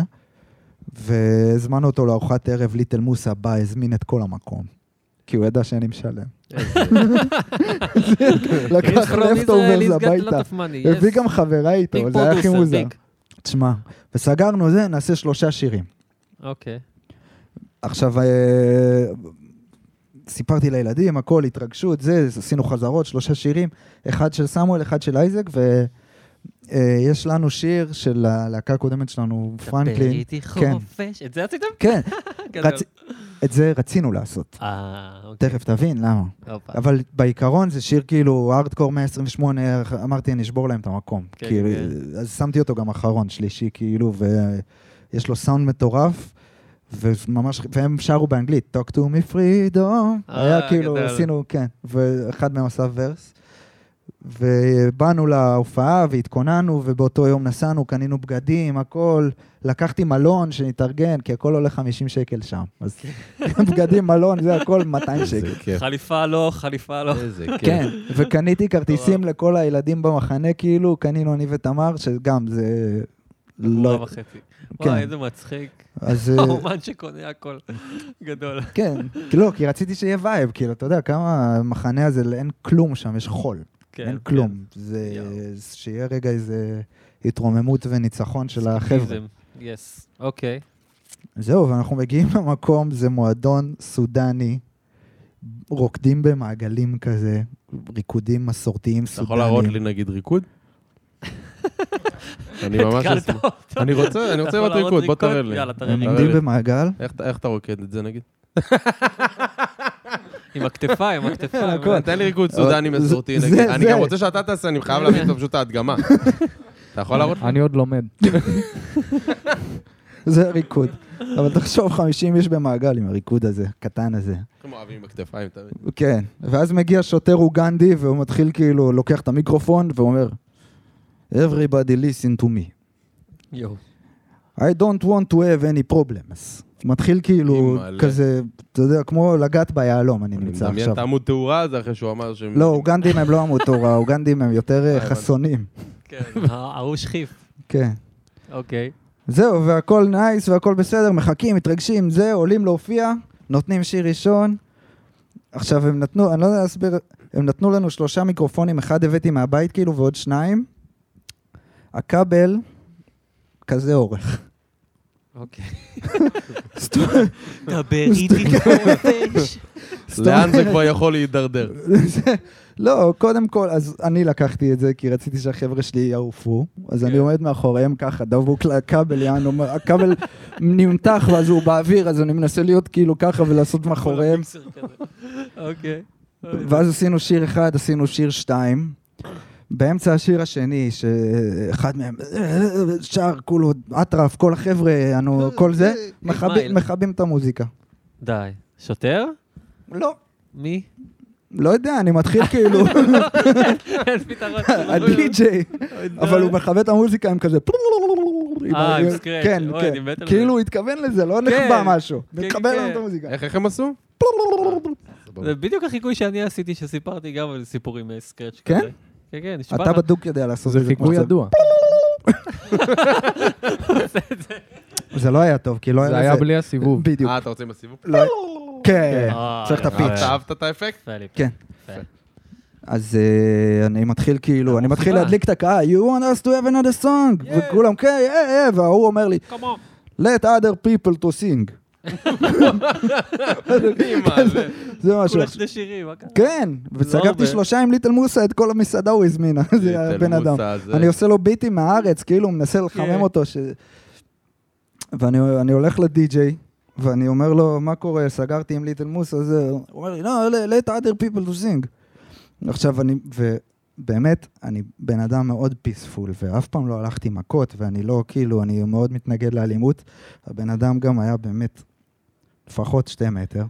והזמנו אותו לארוחת ערב, ליטל מוסה בא, הזמין את כל המקום. כי הוא ידע שאני משלם. לקח לפטוברס הביתה. הביא גם חברה איתו, אבל זה היה הכי מוזר. תשמע, וסגרנו זה, נעשה שלושה שירים. אוקיי. עכשיו, אה, סיפרתי לילדים, הכל, התרגשות, זה, עשינו חזרות, שלושה שירים, אחד של סמואל, אחד של אייזק, ויש לנו שיר של הלהקה הקודמת שלנו, דבר פרנקלין. איתי כן. חופש. את זה עשיתם? כן, גדול. רצ- את זה רצינו לעשות. אה, אוקיי. תכף תבין למה. הופה. אבל בעיקרון זה שיר כאילו הארדקור 128, אמרתי אני אשבור להם את המקום. כן, כאילו, כן. אז שמתי אותו גם אחרון, שלישי כאילו, ויש לו סאונד מטורף, וממש, והם שרו באנגלית, talk to me freedom, אה, היה כאילו, גדל. עשינו, כן, ואחד מהם עשה ורס. ובאנו להופעה והתכוננו, ובאותו יום נסענו, קנינו בגדים, הכל. לקחתי מלון שנתארגן, כי הכל עולה 50 שקל שם. אז כן. בגדים, מלון, זה הכל 200 שקל. איזה כיף. חליפה לא, חליפה לא. איזה כיף. כן, וקניתי כרטיסים לכל הילדים במחנה, כאילו, קנינו אני ותמר, שגם זה... לא. לא, וחצי. כן. וואי, איזה מצחיק. אז אה, האומן שקונה הכל. גדול. כן, כי לא, כי רציתי שיהיה וייב, כאילו, אתה יודע, כמה המחנה הזה, אין כלום שם, יש חול, כן, אין כן. כלום. זה, יואו. שיהיה רגע איזה התרוממות וניצחון של החבר'ה. סקיפיזם, יס. אוקיי. זהו, ואנחנו מגיעים למקום, זה מועדון סודני, רוקדים במעגלים כזה, ריקודים מסורתיים אתה יכול להראות לי סודניים. נגיד ריקוד? אני ממש התקלת אשמח. אותו. אני רוצה, אתה אני רוצה יכול לראות להראות ריקוד, בוא ריקוד? תראה לי. יאללה, תראה אני לי. עומדים במעגל, איך אתה- איך אתה רוקד את זה נגיד? עם הכתפיים, עם הכתפיים. הכל. תן לי ריקוד סודני אבל זה- מסורתי זה- נגיד. אני זה. גם רוצה שאתה תעשה, אני חייב להבין לך פשוט את ההדגמה. אתה יכול להראות? אני עוד לומד. זה ריקוד. אבל תחשוב, 50 איש במעגל עם הריקוד הזה, קטן הזה. כמו אוהבים בכתפיים, אתה מבין? כן. ואז מגיע שוטר אוגנדי, והוא מתחיל כאילו, לוקח את המיקרופון ואומר, Everybody listen to me. יואו. I don't want to have any problems. מתחיל כאילו, אימא'לה. כזה, אתה יודע, כמו לגעת ביהלום, אני אני נמצא מדמיין עכשיו. את העמוד תאורה הזה אחרי שהוא אמר שהם... לא, אוגנדים הם לא עמוד תורה, אוגנדים הם יותר אה, הבנתי. חסונים. כן, ההוא שכיף. כן. אוקיי. זהו, והכל נייס והכל בסדר, מחכים, מתרגשים, זה, עולים להופיע, נותנים שיר ראשון. עכשיו הם נתנו, אני לא יודע להסביר, הם נתנו לנו שלושה מיקרופונים, אחד הבאתי מהבית כאילו ועוד שניים. הכבל, כזה אורך. אוקיי. זאת אומרת- דבר איתי חופש. זאת לאן זה אומרת- כבר יכול להידרדר? זה- לא, קודם כל, אז אני לקחתי את זה כי רציתי שהחבר'ה שלי יעופו, אז אני עומד מאחוריהם ככה, דבוק לכבל, יענו, הכבל נמתח ואז הוא באוויר, אז אני מנסה להיות כאילו ככה ולעשות מאחוריהם. אוקיי. ואז עשינו שיר אחד, עשינו שיר שתיים. באמצע השיר השני, שאחד מהם שר, כולו אטרף, כל החבר'ה, אנו, אה, כל זה, מכבים- מכבים את המוזיקה. די. שוטר? לא. מי? לא יודע, אני מתחיל כאילו, אין פתרון. הדי-ג'יי, אבל הוא מכבה את המוזיקה עם כזה... אה, עם סקרץ'. כן, אוי, אני מת כן. על כאילו זה. הוא התכוון לזה, לא כן. נחבא משהו. כן, מכבה כן. לנו את המוזיקה. איך איך הם עשו? זה בדיוק החיקוי שאני עשיתי, שסיפרתי גם על סיפורים מסקרץ' כן? כזה. כן, כן, נשבע אתה לך. בדוק יודע לעשות זה את זה כמו חיקוי שצריך. ידוע. זה לא היה טוב, כי לא היה זה לזה... היה בלי הסיבוב. בדיוק. אה, אתה רוצה עם הסיבוב? לא- כן, אה, צריך את יפה. הפיץ'. אתה אהבת את האפקט? יפה לי. כן. יפה. אז אה, אני מתחיל כאילו, אני מתחיל מרחיבה. להדליק את הקהל, you want us to have another song, Yeah. וכולם כן, yeah, yeah, וההוא אומר לי, Come on. let other people to sing. כן, אימא, זה- זה משהו. כולה שני שירים, מה קרה? כן, וסגרתי הרבה. שלושה עם ליטל מוסה, את כל המסעדה הוא הזמין, זה ליטל הבן אדם. מוסה הזה. אני עושה לו ביטים מהארץ, כאילו, מנסה כן. לחמם אותו. ש- ואני אני הולך לדי-ג'יי, ואני אומר לו, מה קורה, סגרתי עם ליטל מוסה, זה... הוא אומר לי, לא, let- let other people to sing. עכשיו אני, ובאמת, אני בן אדם מאוד פיספול, ואף פעם לא הלכתי מכות, ואני לא, כאילו, אני מאוד מתנגד לאלימות. הבן אדם גם היה באמת לפחות שתי מטר.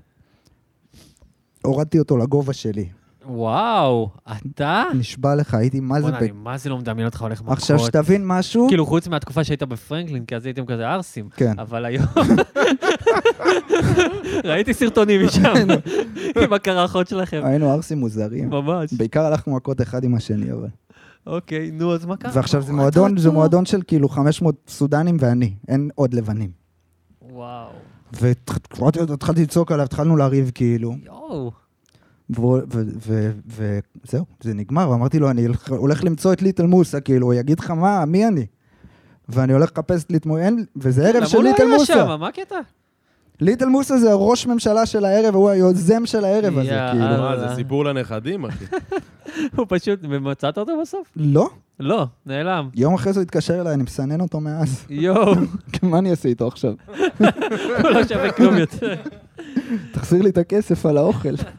הורדתי אותו לגובה שלי. וואו, אתה? נשבע לך, הייתי, מה זה... אה. בוא'נה, אני ב- מה זה לא מדמיין אותך הולך מכות. עכשיו, שתבין משהו... כאילו, חוץ מהתקופה שהיית בפרנקלין, כי אז הייתם כזה ערסים. כן. אבל היום... ראיתי סרטונים משם, כן. עם הקרחות שלכם. היינו ערסים מוזרים. ממש. בעיקר הלכנו מכות אחד עם השני, אבל... אוקיי, נו, אז מה קרה? ועכשיו זה מועדון, זה מועדון של כאילו 500 סודנים ואני, אין עוד לבנים. וואו. והתחלתי לצעוק עליו, התחלנו לריב כאילו, יואו. והוא- ו- ו- ו- וזהו, זה נגמר, ואמרתי לו, אני הולך- הולך למצוא את ליטל מוסה, כאילו, הוא יגיד לך מה, מי אני? ואני הולך לחפש את ליטל מוסה, וזה ערב למה של הוא לא ליטל היה מוסה. שם? מה הקטע? ליטל מוסה זה הראש ממשלה של הערב, הוא היוזם של הערב הזה, יאללה. כאילו. מה, אה, זה סיפור לנכדים, אחי. הוא פשוט... ומצאת אותו בסוף? לא, לא, נעלם. יום אחרי זה הוא התקשר אליי, אני מסנן אותו מאז. יואו, מה אני אעשה איתו עכשיו? הוא לא שווה כלום יותר. תחזיר לי את הכסף על האוכל. כן.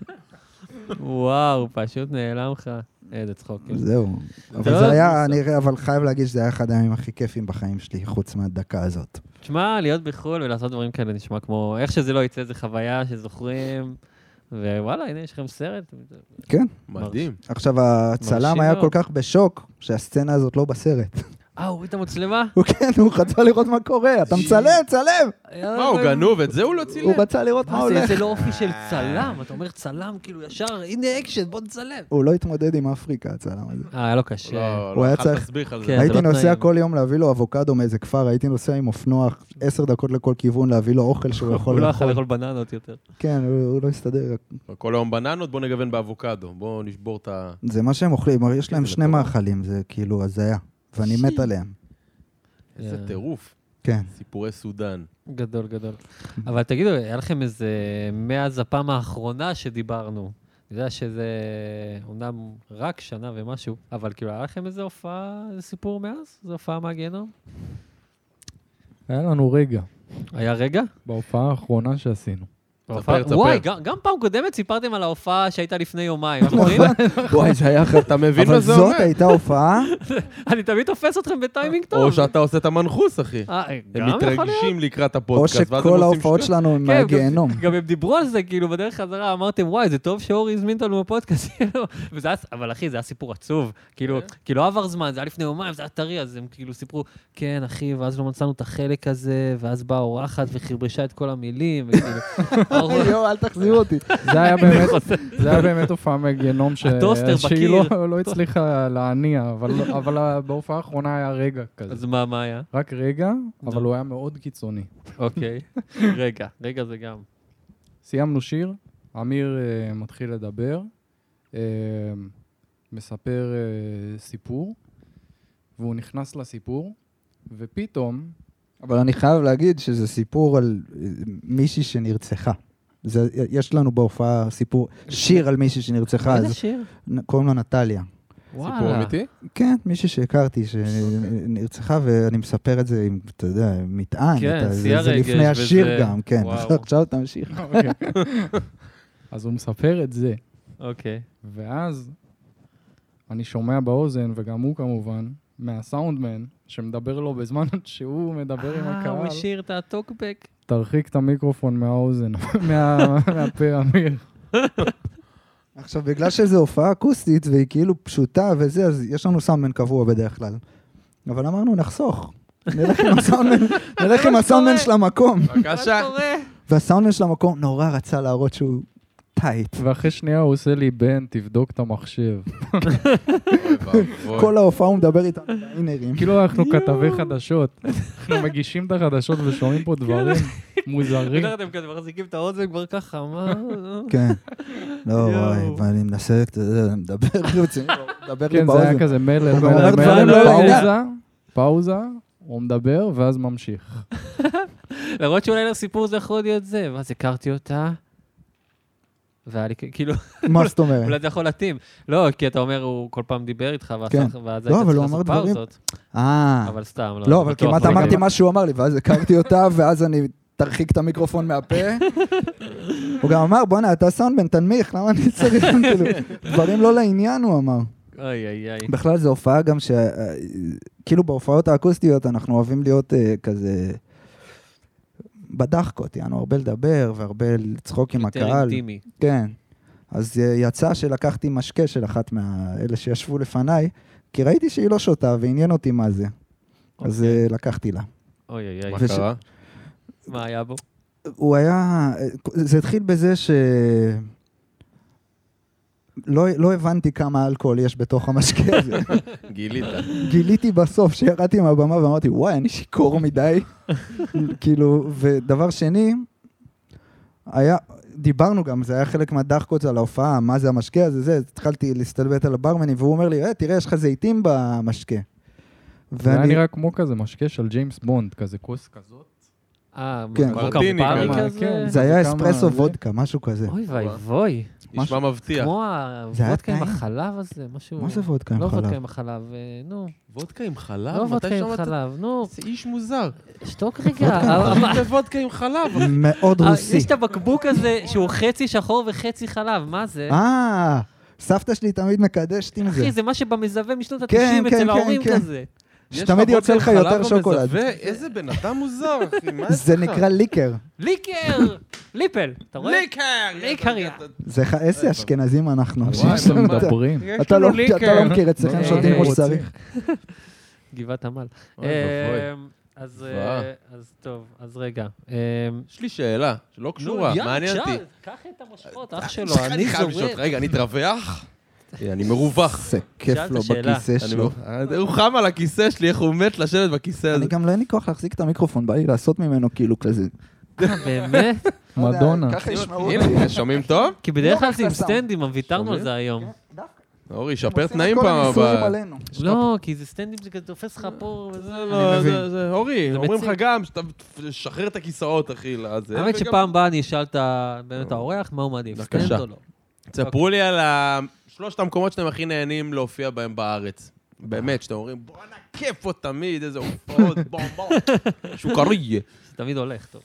וואו, פשוט נעלם לך. איזה צחוקים. זהו. טוב, אבל זה היה, בסדר. אני, אבל חייב להגיד שזה היה אחד הימים הכי כיפים בחיים שלי, חוץ מהדקה הזאת. תשמע, להיות בחו"ל ולעשות דברים כאלה נשמע כמו... איך שזה לא יצא, זו חוויה שזוכרים. ווואלה, הנה, יש לכם סרט. כן. מדהים. עכשיו, מרשים הצלם היה מאוד. כל כך בשוק, שהסצנה הזאת לא בסרט. אה, הוא הוריד את המצלמה? הוא כן, הוא רצה לראות מה קורה, אתה מצלם, צלם! מה, הוא גנוב? את זה הוא לא צילם? הוא רצה לראות מה אה, מה זה, הולך. איזה לא אופי של צלם. אתה אומר צלם, כאילו ישר, הנה אקשן, בוא נצלם. הוא לא התמודד עם אפריקה, הצלם הזה. אה, היה לו לא, קשה. לא, כן. הוא היה אכל צריך- תסביך על זה. כן. זה הייתי לא נוסע תנאים. כל יום להביא לו אבוקדו מאיזה כפר, הייתי נוסע עם אופנוע עשר דקות לכל כיוון להביא לו אוכל שהוא הוא יכול לא יכול לאכול. לאכול בננות יותר. כן, הוא הוא לא הסתדר. כל היום בננות, בוא נגוון באבוקדו. בוא נשבור את ה... זה מה שהם אוכלים, יש להם זה לא שני מטורף. מאכלים, זה כאילו הזיה. ואני מת עליהם. איזה Yeah. טירוף. כן. סיפורי סודן. גדול, גדול. אבל תגידו, היה לכם איזה... מאז הפעם האחרונה שדיברנו, אני יודע שזה אומנם רק שנה ומשהו, אבל כאילו, היה לכם איזה הופעה, איזה סיפור מאז? איזה הופעה מהגיהנום? היה לנו רגע, היה רגע? בהופעה האחרונה שעשינו. ההופעה- תספר. וואי, גם, גם פעם קודמת סיפרתם על ההופעה שהייתה לפני יומיים. נכון. זוכרים? וואי, זה היה אחר. אתה מבין מה אבל זה זאת אומר? הייתה הופעה, אני תמיד תופס אתכם בטיימינג טוב. או שאתה עושה את המנחוס, אחי. אה, גם הם יכול להיות. מתרגשים לקראת או הפודקאסט, ואז הם שכל עושים ההופעות שטויות. שלנו הם כן, מהגיהנום. גם הם דיברו על זה, כאילו, בדרך חזרה אמרתם, וואי, זה טוב שאורי הזמין אותנו בפודקאסט, כאילו, וזה היה, אבל אחי, זה היה סיפור עצוב. כאילו, כאילו, לא עבר זמן, זה היה לפני יומיים, זה היה טרי, אז הם כאילו סיפרו, כן, אחי, ואז לא מצאנו את החלק הזה, ואז באה אורחת וחרבשה את כל המילים, וכאילו, יואו, אל תחזיר אותי. זה היה באמת, חוזר. זה היה באמת הופעה מגיהנום ש... הטוסטר שהיא בקיר. לא, לא הצליחה להניע, אבל, אבל ה- בהופעה האחרונה היה רגע אז כזה. מה, מה היה? רק רגע, אבל נו. הוא היה מאוד קיצוני. אוקיי. רגע, רגע זה גם. סיימנו שיר, אמיר אה, מתחיל לדבר, אה, מספר אה, סיפור, והוא נכנס לסיפור, ופתאום, אבל אני חייב להגיד שזה סיפור על אה, מישהי שנרצחה. זה, יש לנו בהופעה סיפור, שיר על מישהי שנרצחה, איזה אז שיר? נ- קוראים לה נטליה. סיפור וואלה. אמיתי? כן, מישהי שהכרתי אוקיי. שנרצחה, ואני מספר את זה עם, אתה יודע, עם מטען. כן, אתה- זה- שיא זה הרגש לפני וזה- השיר גם, כן. וואו. עכשיו תמשיך. אוקיי. אז הוא מספר את זה, אוקיי. ואז אני שומע באוזן, וגם הוא כמובן, מהסאונדמן, שמדבר לו בזמן שהוא מדבר עם אה, הוא הקהל, השאיר את הטוקבק. תרחיק את המיקרופון מהאוזן, מה- מהפה, אמיר. עכשיו, בגלל שזו הופעה אקוסטית, והיא כאילו פשוטה וזה, אז יש לנו סאונדמן קבוע בדרך כלל. אבל אמרנו, נחסוך. נלך עם הסאונדמן- לא נלך עם הסאונדמן של המקום. מה בבקשה. קורה? והסאונדמן של המקום נורא רצה להראות שהוא טייט. ואחרי שנייה הוא עושה לי, בן, תבדוק את המחשב. אוי ואבוי. כל ההופעה הוא מדבר איתנו באינרים. כאילו אנחנו כתבי חדשות, אנחנו מגישים את החדשות ושומעים כן. פה דברים בדרך כלל מוזרים. לא אתם כזה מחזיקים את האוזן כבר ככה, מה? כן. לא, יואו. וואי, ואני מנסה, אה, אתה יודע, מדבר רציני, לא מדבר לי כן, זה היה באוזן. כזה מלל, הוא גם מלל, אומר דברים מלל, לא פאוזה, פאוזה, הוא מדבר ואז ממשיך. למרות שאולי לסיפור זה יכול להיות זה, ואז הכרתי אותה, והיה לי כ- כאילו, מה זאת אומרת? אולי זה יכול להתאים. לא, כי אתה אומר, הוא כל פעם דיבר איתך, ועשה- כן. ואז לא, היית אבל צריך הוא לעשות אמר דברים- פאוזות, אה. אבל סתם, לא. לא, זה אבל בטוח כמעט לא אמרתי יקרה. מה שהוא אמר לי, ואז הכרתי אותה, ואז אני תרחיק את המיקרופון מהפה. הוא גם אמר, בואנה, אתה סאונדמן, תנמיך, למה אני צריך? כאילו, דברים לא לעניין, הוא אמר. אוי, אוי, אוי. בכלל זו הופעה גם ש... אה, כאילו בהופעות האקוסטיות אנחנו אוהבים להיות אה, כזה... בדחקות, יענו, הרבה לדבר והרבה לצחוק עם יותר הקהל. אינטימי. כן. אז אה, יצא שלקחתי משקה של אחת מאלה שישבו לפניי, כי ראיתי שהיא לא שותה ועניין אותי מה זה. אז אוקיי. אה, לקחתי לה. אוי אוי מה אוי, וש- קרה? מה היה בו? הוא היה... זה התחיל בזה ש... לא, לא הבנתי כמה אלכוהול יש בתוך המשקה הזה. גילית. גיליתי בסוף, שירדתי מהבמה ואמרתי, וואי, אני שיכור מדי. כאילו, ודבר שני, היה, דיברנו גם, זה היה חלק מהדחקות על ההופעה, מה זה המשקה הזה, זה, התחלתי להסתלבט על הברמנים, והוא אומר לי, "אה, תראה, יש לך זיתים במשקה. זה היה ואני, נראה כמו כזה משקה של גיימס בונד, כזה כוס כזאת. אה, כן. כמו מרטיני קמפרי כזה. כזה? זה כמה היה זה? אספרסו וודקה, משהו כזה. אוי ואבוי, נשמע משהו- מבטיח. כמו זה היה הוודקה עם טעים. החלב הזה, משהו... מה זה וודקה עם לא חלב? וודקה עם החלב, אה, נו. וודקה עם חלב? לא אה, מתי וודקה עם שמעת- חלב, נו, זה איש מוזר. שתוק רגע. אבל- זה וודקה עם חלב. מאוד אה, רוסי. יש את הבקבוק הזה שהוא חצי שחור וחצי חלב, מה כן. זה? אה, סבתא שלי תמיד מקדשת עם זה. אחי, זה מה שבמזווה משנות כן, ה-90 כן, אצל כן, ההורים כן. כזה. יש שתמיד יוצא וודקה לך עם חלב יותר שוקולד. במזווה? איזה בן אדם מוזר, אחי, מה יש זה לך? נקרא ליקר. ליקר! ליפל, אתה רואה? ליקר! ליקריה. זה ח- איזה אשכנזים אנחנו. על מה אה, וואי, שיש אתם לנו את ה- מדברים? יש אתה לנו לא- ליקר. אתה לא מכיר, אצלכם אה, שותים כמו רוצים. שצריך. גבעת עמל. אוי ואבוי. אמ, אז זוועה. אה, אז טוב, אז רגע. אמ, יש לי שאלה, שלא קשורה, נו, יאללה, מעניין אותי. אה, צ'ארלס, קח את המושכות, אח שלו, אני חייב לשאול, זורק. רגע, אני אתרווח? אה, אני מרווח. זה כיף שאלת לו שאלה. בכיסא אני שלו. מרווח. הוא חם על הכיסא שלי, איך הוא מת לשבת בכיסא הזה. אני גם לא אין לי כוח להחזיק את המיקרופון, בא לי לעשות ממנו כאילו כזה. אה, באמת? מדונה. ככה ישמעו אותי. הנה, שומעים טוב? כי בדרך כלל לא זה עם רק לסאונד. סטנדים, אבל ויתרנו על שומעים? זה היום. אורי, שפר תנאים פעם הבאה. לא, כי זה סטנדים שכזה תופס לך פה וזה. זה לא, מבין. זה- זה- אורי, זה אומרים מציק. לך גם, שאתה תשחרר את הכיסאות, אחי, לזה. האמת וגם- שפעם הבאה אני אשאל את ה- לא. באמת האורח, מה הוא מעדיף, בבקשה. סטנד או לא. תספרו לי על ה- שלושת המקומות שאתם הכי נהנים להופיע בהם בארץ. באמת, שאתם אומרים, בואנה, כיף עוד תמיד, איזה הופעות, בואו, בואו. שוקריה. זה תמיד הולך, טוב.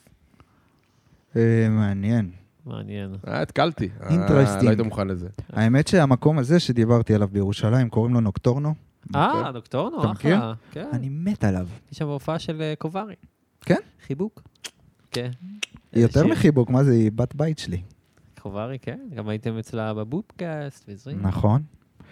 אה, מעניין. מעניין. אה, התקלתי. אה, Interesting. לא היית מוכן לזה. האמת שהמקום הזה שדיברתי עליו בירושלים, קוראים לו נוקטורנו. אה, דוקטורנו, אוקיי. אתה אחלה. מכיר? כן, אני מת עליו. יש שם הופעה של אה, קוברי. כן? חיבוק. כן. היא יותר שיר. מחיבוק, מה זה, היא בת בית שלי. קוברי, כן. גם הייתם אצלה בבופקאסט וזה. נכון.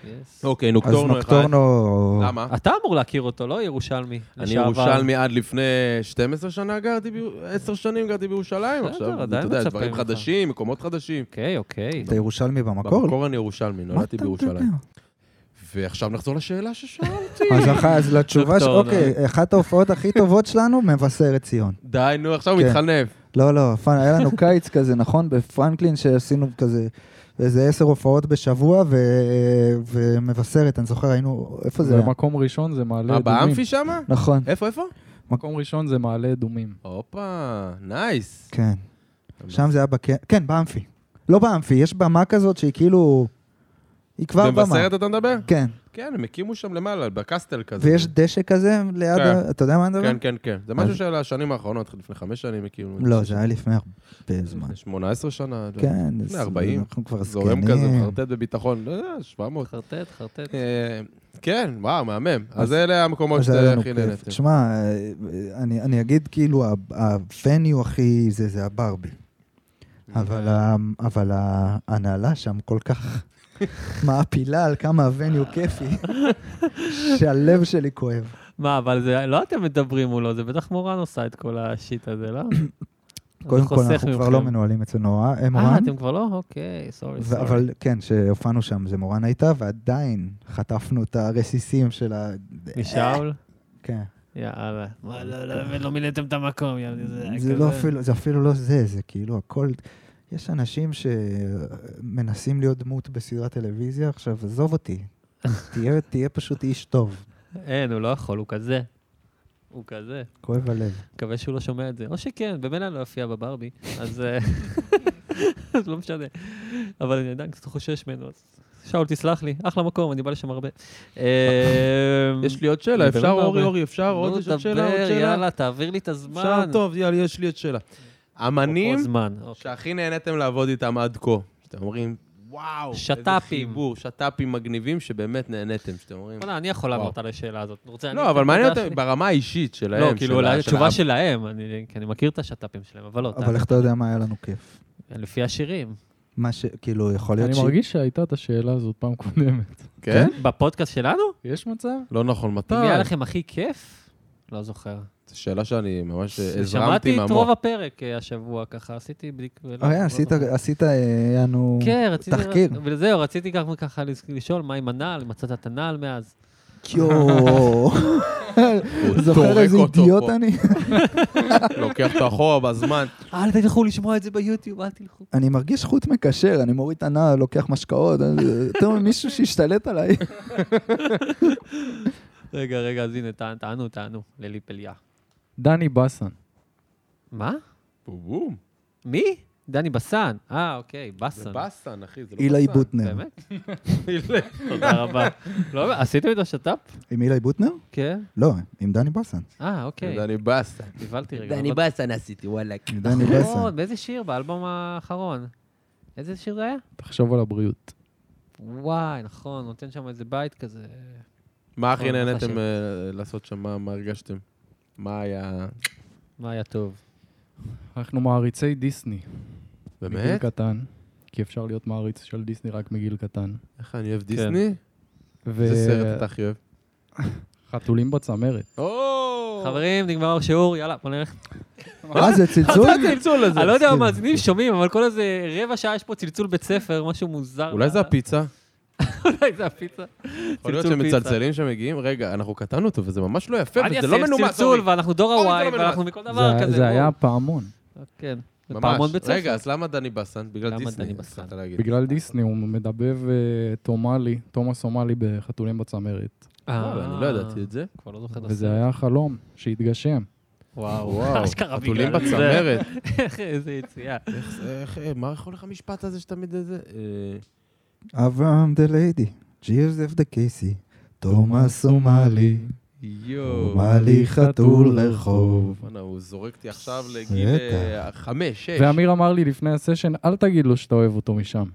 Yes. אוקיי, אז נוקטורנו אחד. נוקטורנו... למה? אתה אמור להכיר אותו, לא ירושלמי. אני לשעבר. ירושלמי עד לפני 12 שנה גרתי, ב- 10 שנים גרתי בירושלים. בסדר, עכשיו, אתה עדיין יודע, מצפים דברים לך. חדשים, מקומות חדשים. אוקיי, אוקיי. אתה ירושלמי במקור? במקור אני ירושלמי, מה נולדתי אתה בירושלים. מדבר? ועכשיו נחזור לשאלה ששאלתי. אז אחת- אז לתשובה, ש- דוקטורנו. אוקיי, אחת ההופעות הכי טובות שלנו, מבשרת ציון. די, נו, עכשיו הוא כן. מתחנף. לא, לא, פאנ- היה לנו קיץ כזה, נכון? בפרנקלין שעשינו כזה איזה עשר הופעות בשבוע, ו... ומבשרת, אני זוכר, היינו, איפה זה היה? ומקום ראשון זה לא מעלה מה, אדומים. באמפי שמה? נכון, איפה, איפה? מקום ראשון זה מעלה אדומים. הופה, נייס. כן. שם זה היה בק... כן, באמפי. לא באמפי, יש במה כזאת שהיא כאילו... היא כבר במה. במבשרת אתה מדבר? כן, כן, הם הקימו שם למעלה, בקסטל כזה. ויש דשא כזה ליד כן. ה... אתה יודע מה אני מדבר? כן, כן, כן. זה משהו של השנים האחרונות, לפני חמש שנים הקימו. לא, זה היה לפני הרבה זמן. לפני 18 שנה. לא יודע. כן, לפני אז כן. 40. אנחנו כבר זורם זקנים. כזה, מחרטט בביטחון, לא יודע, 700. חרטט, חרטט. אה, כן, וואו, מהמם. אז אלה המקומות אז היה שאתה לנו הכי כיף. נהנתם. תשמע, אה, אני, אני אגיד כאילו, ה- הפניו הכי זה, זה הברבי. אבל, ה, אבל ההנהלה שם כל כך מעפילה על כמה הווניו כיפי, שהלב שלי כואב. מה, אבל זה, לא אתם מדברים מולו, זה בטח מורן עושה את כל השיט הזה, לא? קודם זה כל, חוסך אנחנו כבר מכם. לא מנוהלים אצל נורא, אה, אה, מורן. אתם כבר לא? אוקיי, סורי, ו- סורי. אבל כן, שהופענו שם זה מורן הייתה, ועדיין חטפנו את הרסיסים של ה... משאול? כן. יאללה. מה, לא, לא, באמת לא מילאתם את המקום, יא, זה לא אפילו, זה אפילו לא זה, זה כאילו הכל... יש אנשים שמנסים להיות דמות בסדרת טלוויזיה, עכשיו, עזוב אותי. תהיה, תהיה פשוט איש טוב. אין, הוא לא יכול, הוא כזה. הוא כזה. כואב הלב. מקווה שהוא לא שומע את זה. או שכן, במילא לא יופיע בברבי, אז אה, אז לא משנה. אבל אני עדיין קצת חושש ממנו. אז שאול, תסלח לי, אחלה מקום, אני בא לשם הרבה. אמ- יש לי עוד שאלה, אפשר, מדברים אורי, הרבה. אורי, אפשר עוד יש עוד שאלה, עוד שאלה? יאללה, תעביר לי את הזמן. אפשר, טוב, אוקיי. יאללה, יש לי עוד שאלה. אמנים עוד זמן. שהכי נהניתם לעבוד איתם עד כה, שאתם אומרים, וואו, איזה שת"פים. חיבור, שת"פים מגניבים שבאמת נהניתם, שאתם אומרים. וואלה, אני יכול לעבור וואו. אותה לשאלה הזאת. רוצה אני לא, את אבל מעניין הנקודה אותם שלי? ברמה האישית שלהם. לא, של כאילו, ה- אולי של ה- התשובה שלהם, אני- כי אני מכיר את השת"פים שלהם, אבל לא, אבל איך אתה יודע מה היה לנו כיף? לפי השירים. מה ש... כאילו, יכול להיות אני מרגיש שהייתה את השאלה הזאת פעם קודמת. כן? בפודקאסט שלנו? יש מצב? לא נכון, מתי? אם היה לכם הכי כיף? לא זוכר. זו שאלה שאני ממש אה, הזרמתי שמעתי את מהמוח. רוב הפרק אה, השבוע ככה, עשיתי בדיק... אה, ולא- אוי, לא אה, עשית, זוכר. עשית, אה, יענו, כן, רציתי... תחקיר. וזהו, רציתי גם ככה לס- לשאול מה עם הנעל, מצאת את הנעל מאז. יואו. הוא זוכר טורק איזה אותו אידיוט פה. אני? לוקח אותו אחורה בזמן. אל תלכו לשמוע את זה ביוטיוב, אל תלכו. אני מרגיש חוט מקשר, אני מוריד את הנעל, לוקח משקאות, אה, יותר ממישהו שהשתלט עליי. רגע, רגע, אז הנה, טען- טענו, טענו, ללי פליה. דני בסן. מה? בום, בום. מי? דני בסן. אה, אוקיי, זה בסן. בסן, אחי, זה לא בסן. אילי בוטנר. באמת? תודה רבה. לא, עשיתם את השת"פ? עם אילי בוטנר? כן. לא, עם דני בסן. אה, אוקיי. דני בסן. נבהלתי רגע. דני אבל- בסן עשיתי, וואלכ. עם דני נכון, בסן. באיזה שיר? באלבום האחרון. איזה שיר זה היה? תחשוב על הבריאות. וואי, נכון, נותן שם איזה בית כזה. מה הכי נכון, נהניתם נכון. אה, לעשות שם? מה- מה הרגשתם? מה היה... מה היה טוב. אנחנו מעריצי דיסני. מגיל באמת? קטן. כי אפשר להיות מעריץ של דיסני רק מגיל קטן. איך אני כן. אוהב דיסני? ו- איזה סרט אתה הכי אוהב? חתולים בצמרת. או! חברים, נגמר השיעור, יאללה, בוא נלך. אה, זה צלצול? הצלצול הזה. אני לא יודע אם המאזינים שומעים, אבל כל איזה רבע שעה יש פה צלצול בית ספר, משהו מוזר. אולי זה הפיצה? אולי זה הפיצה. יכול להיות צלצול פיצה. שמצלצלים שמגיעים, רגע, אנחנו קטענו אותו וזה ממש לא יפה, אני וזה אעשה לא מנומס. צלצול, ואנחנו דור אורי, זה לא הוואי, מנומס. ואנחנו מכל דבר זה- כזה. זה היה בואו. פעמון. כן. זה ממש. פעמון בית ספר. רגע, אז למה דני בסן? בגלל למה דיסני. דני בסן? התחלת להגיד. בגלל דיסני הוא מדבב אה, תומאלי, תומאס אומאלי בחתולים בצמרת. אה, וואלה, אני לא ידעתי את זה. כבר לא זוכר את וזה הסרט. היה חלום שהתגשם. וואו, וואו, אשכרה בגלל חתולים זה. בצמרת. איזה יציאה. איך זה, איך, אה, מה יכול לך המשפט הזה שתמיד איזה... אה, אברהם דה ליידי, ג'יוזף דה קייסי, תומאס אומאלי, יואו. אומאלי חתול רחוב. בואנה, הוא זורק אותי עכשיו לגיל אה, חמש, שש. ואמיר אמר לי לפני הסשן, אל תגיד לו שאתה אוהב אותו משם.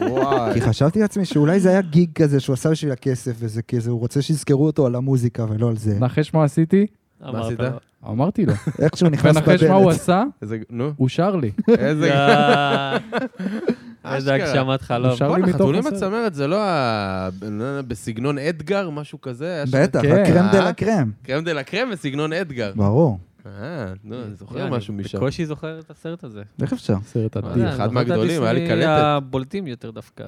וואי. כי חשבתי לעצמי שאולי זה היה גיג כזה שהוא עשה בשביל הכסף וזה כזה, הוא רוצה שיזכרו אותו על המוזיקה ולא על זה. נחש מה עשיתי? אמרת לא. עשית? לו. אמרתי לו. איך שהוא נכנס ונחש מה הוא בדלת. עשה? איזה... נו, הוא שר לי. איזה... אה, איזה אשכרה. הגשמת חלום. אפשר- לי בואנה, מתוך חתולים הסרט. בצמרת זה לא ה... בסגנון אדגר, משהו כזה? היה שם- בטח, כן. הקרם דה אה? לה קרם. קרם דה לה קרם וסגנון אדגר. ברור. אה, נו, אני אה, זוכר אני משהו משם. בקושי זוכר את הסרט הזה. איך אפשר? סרט מה זה, עתיד. אני אחד זוכר את מהגדולים, היה לי הדיסני קלטת. הבולטים יותר דווקא.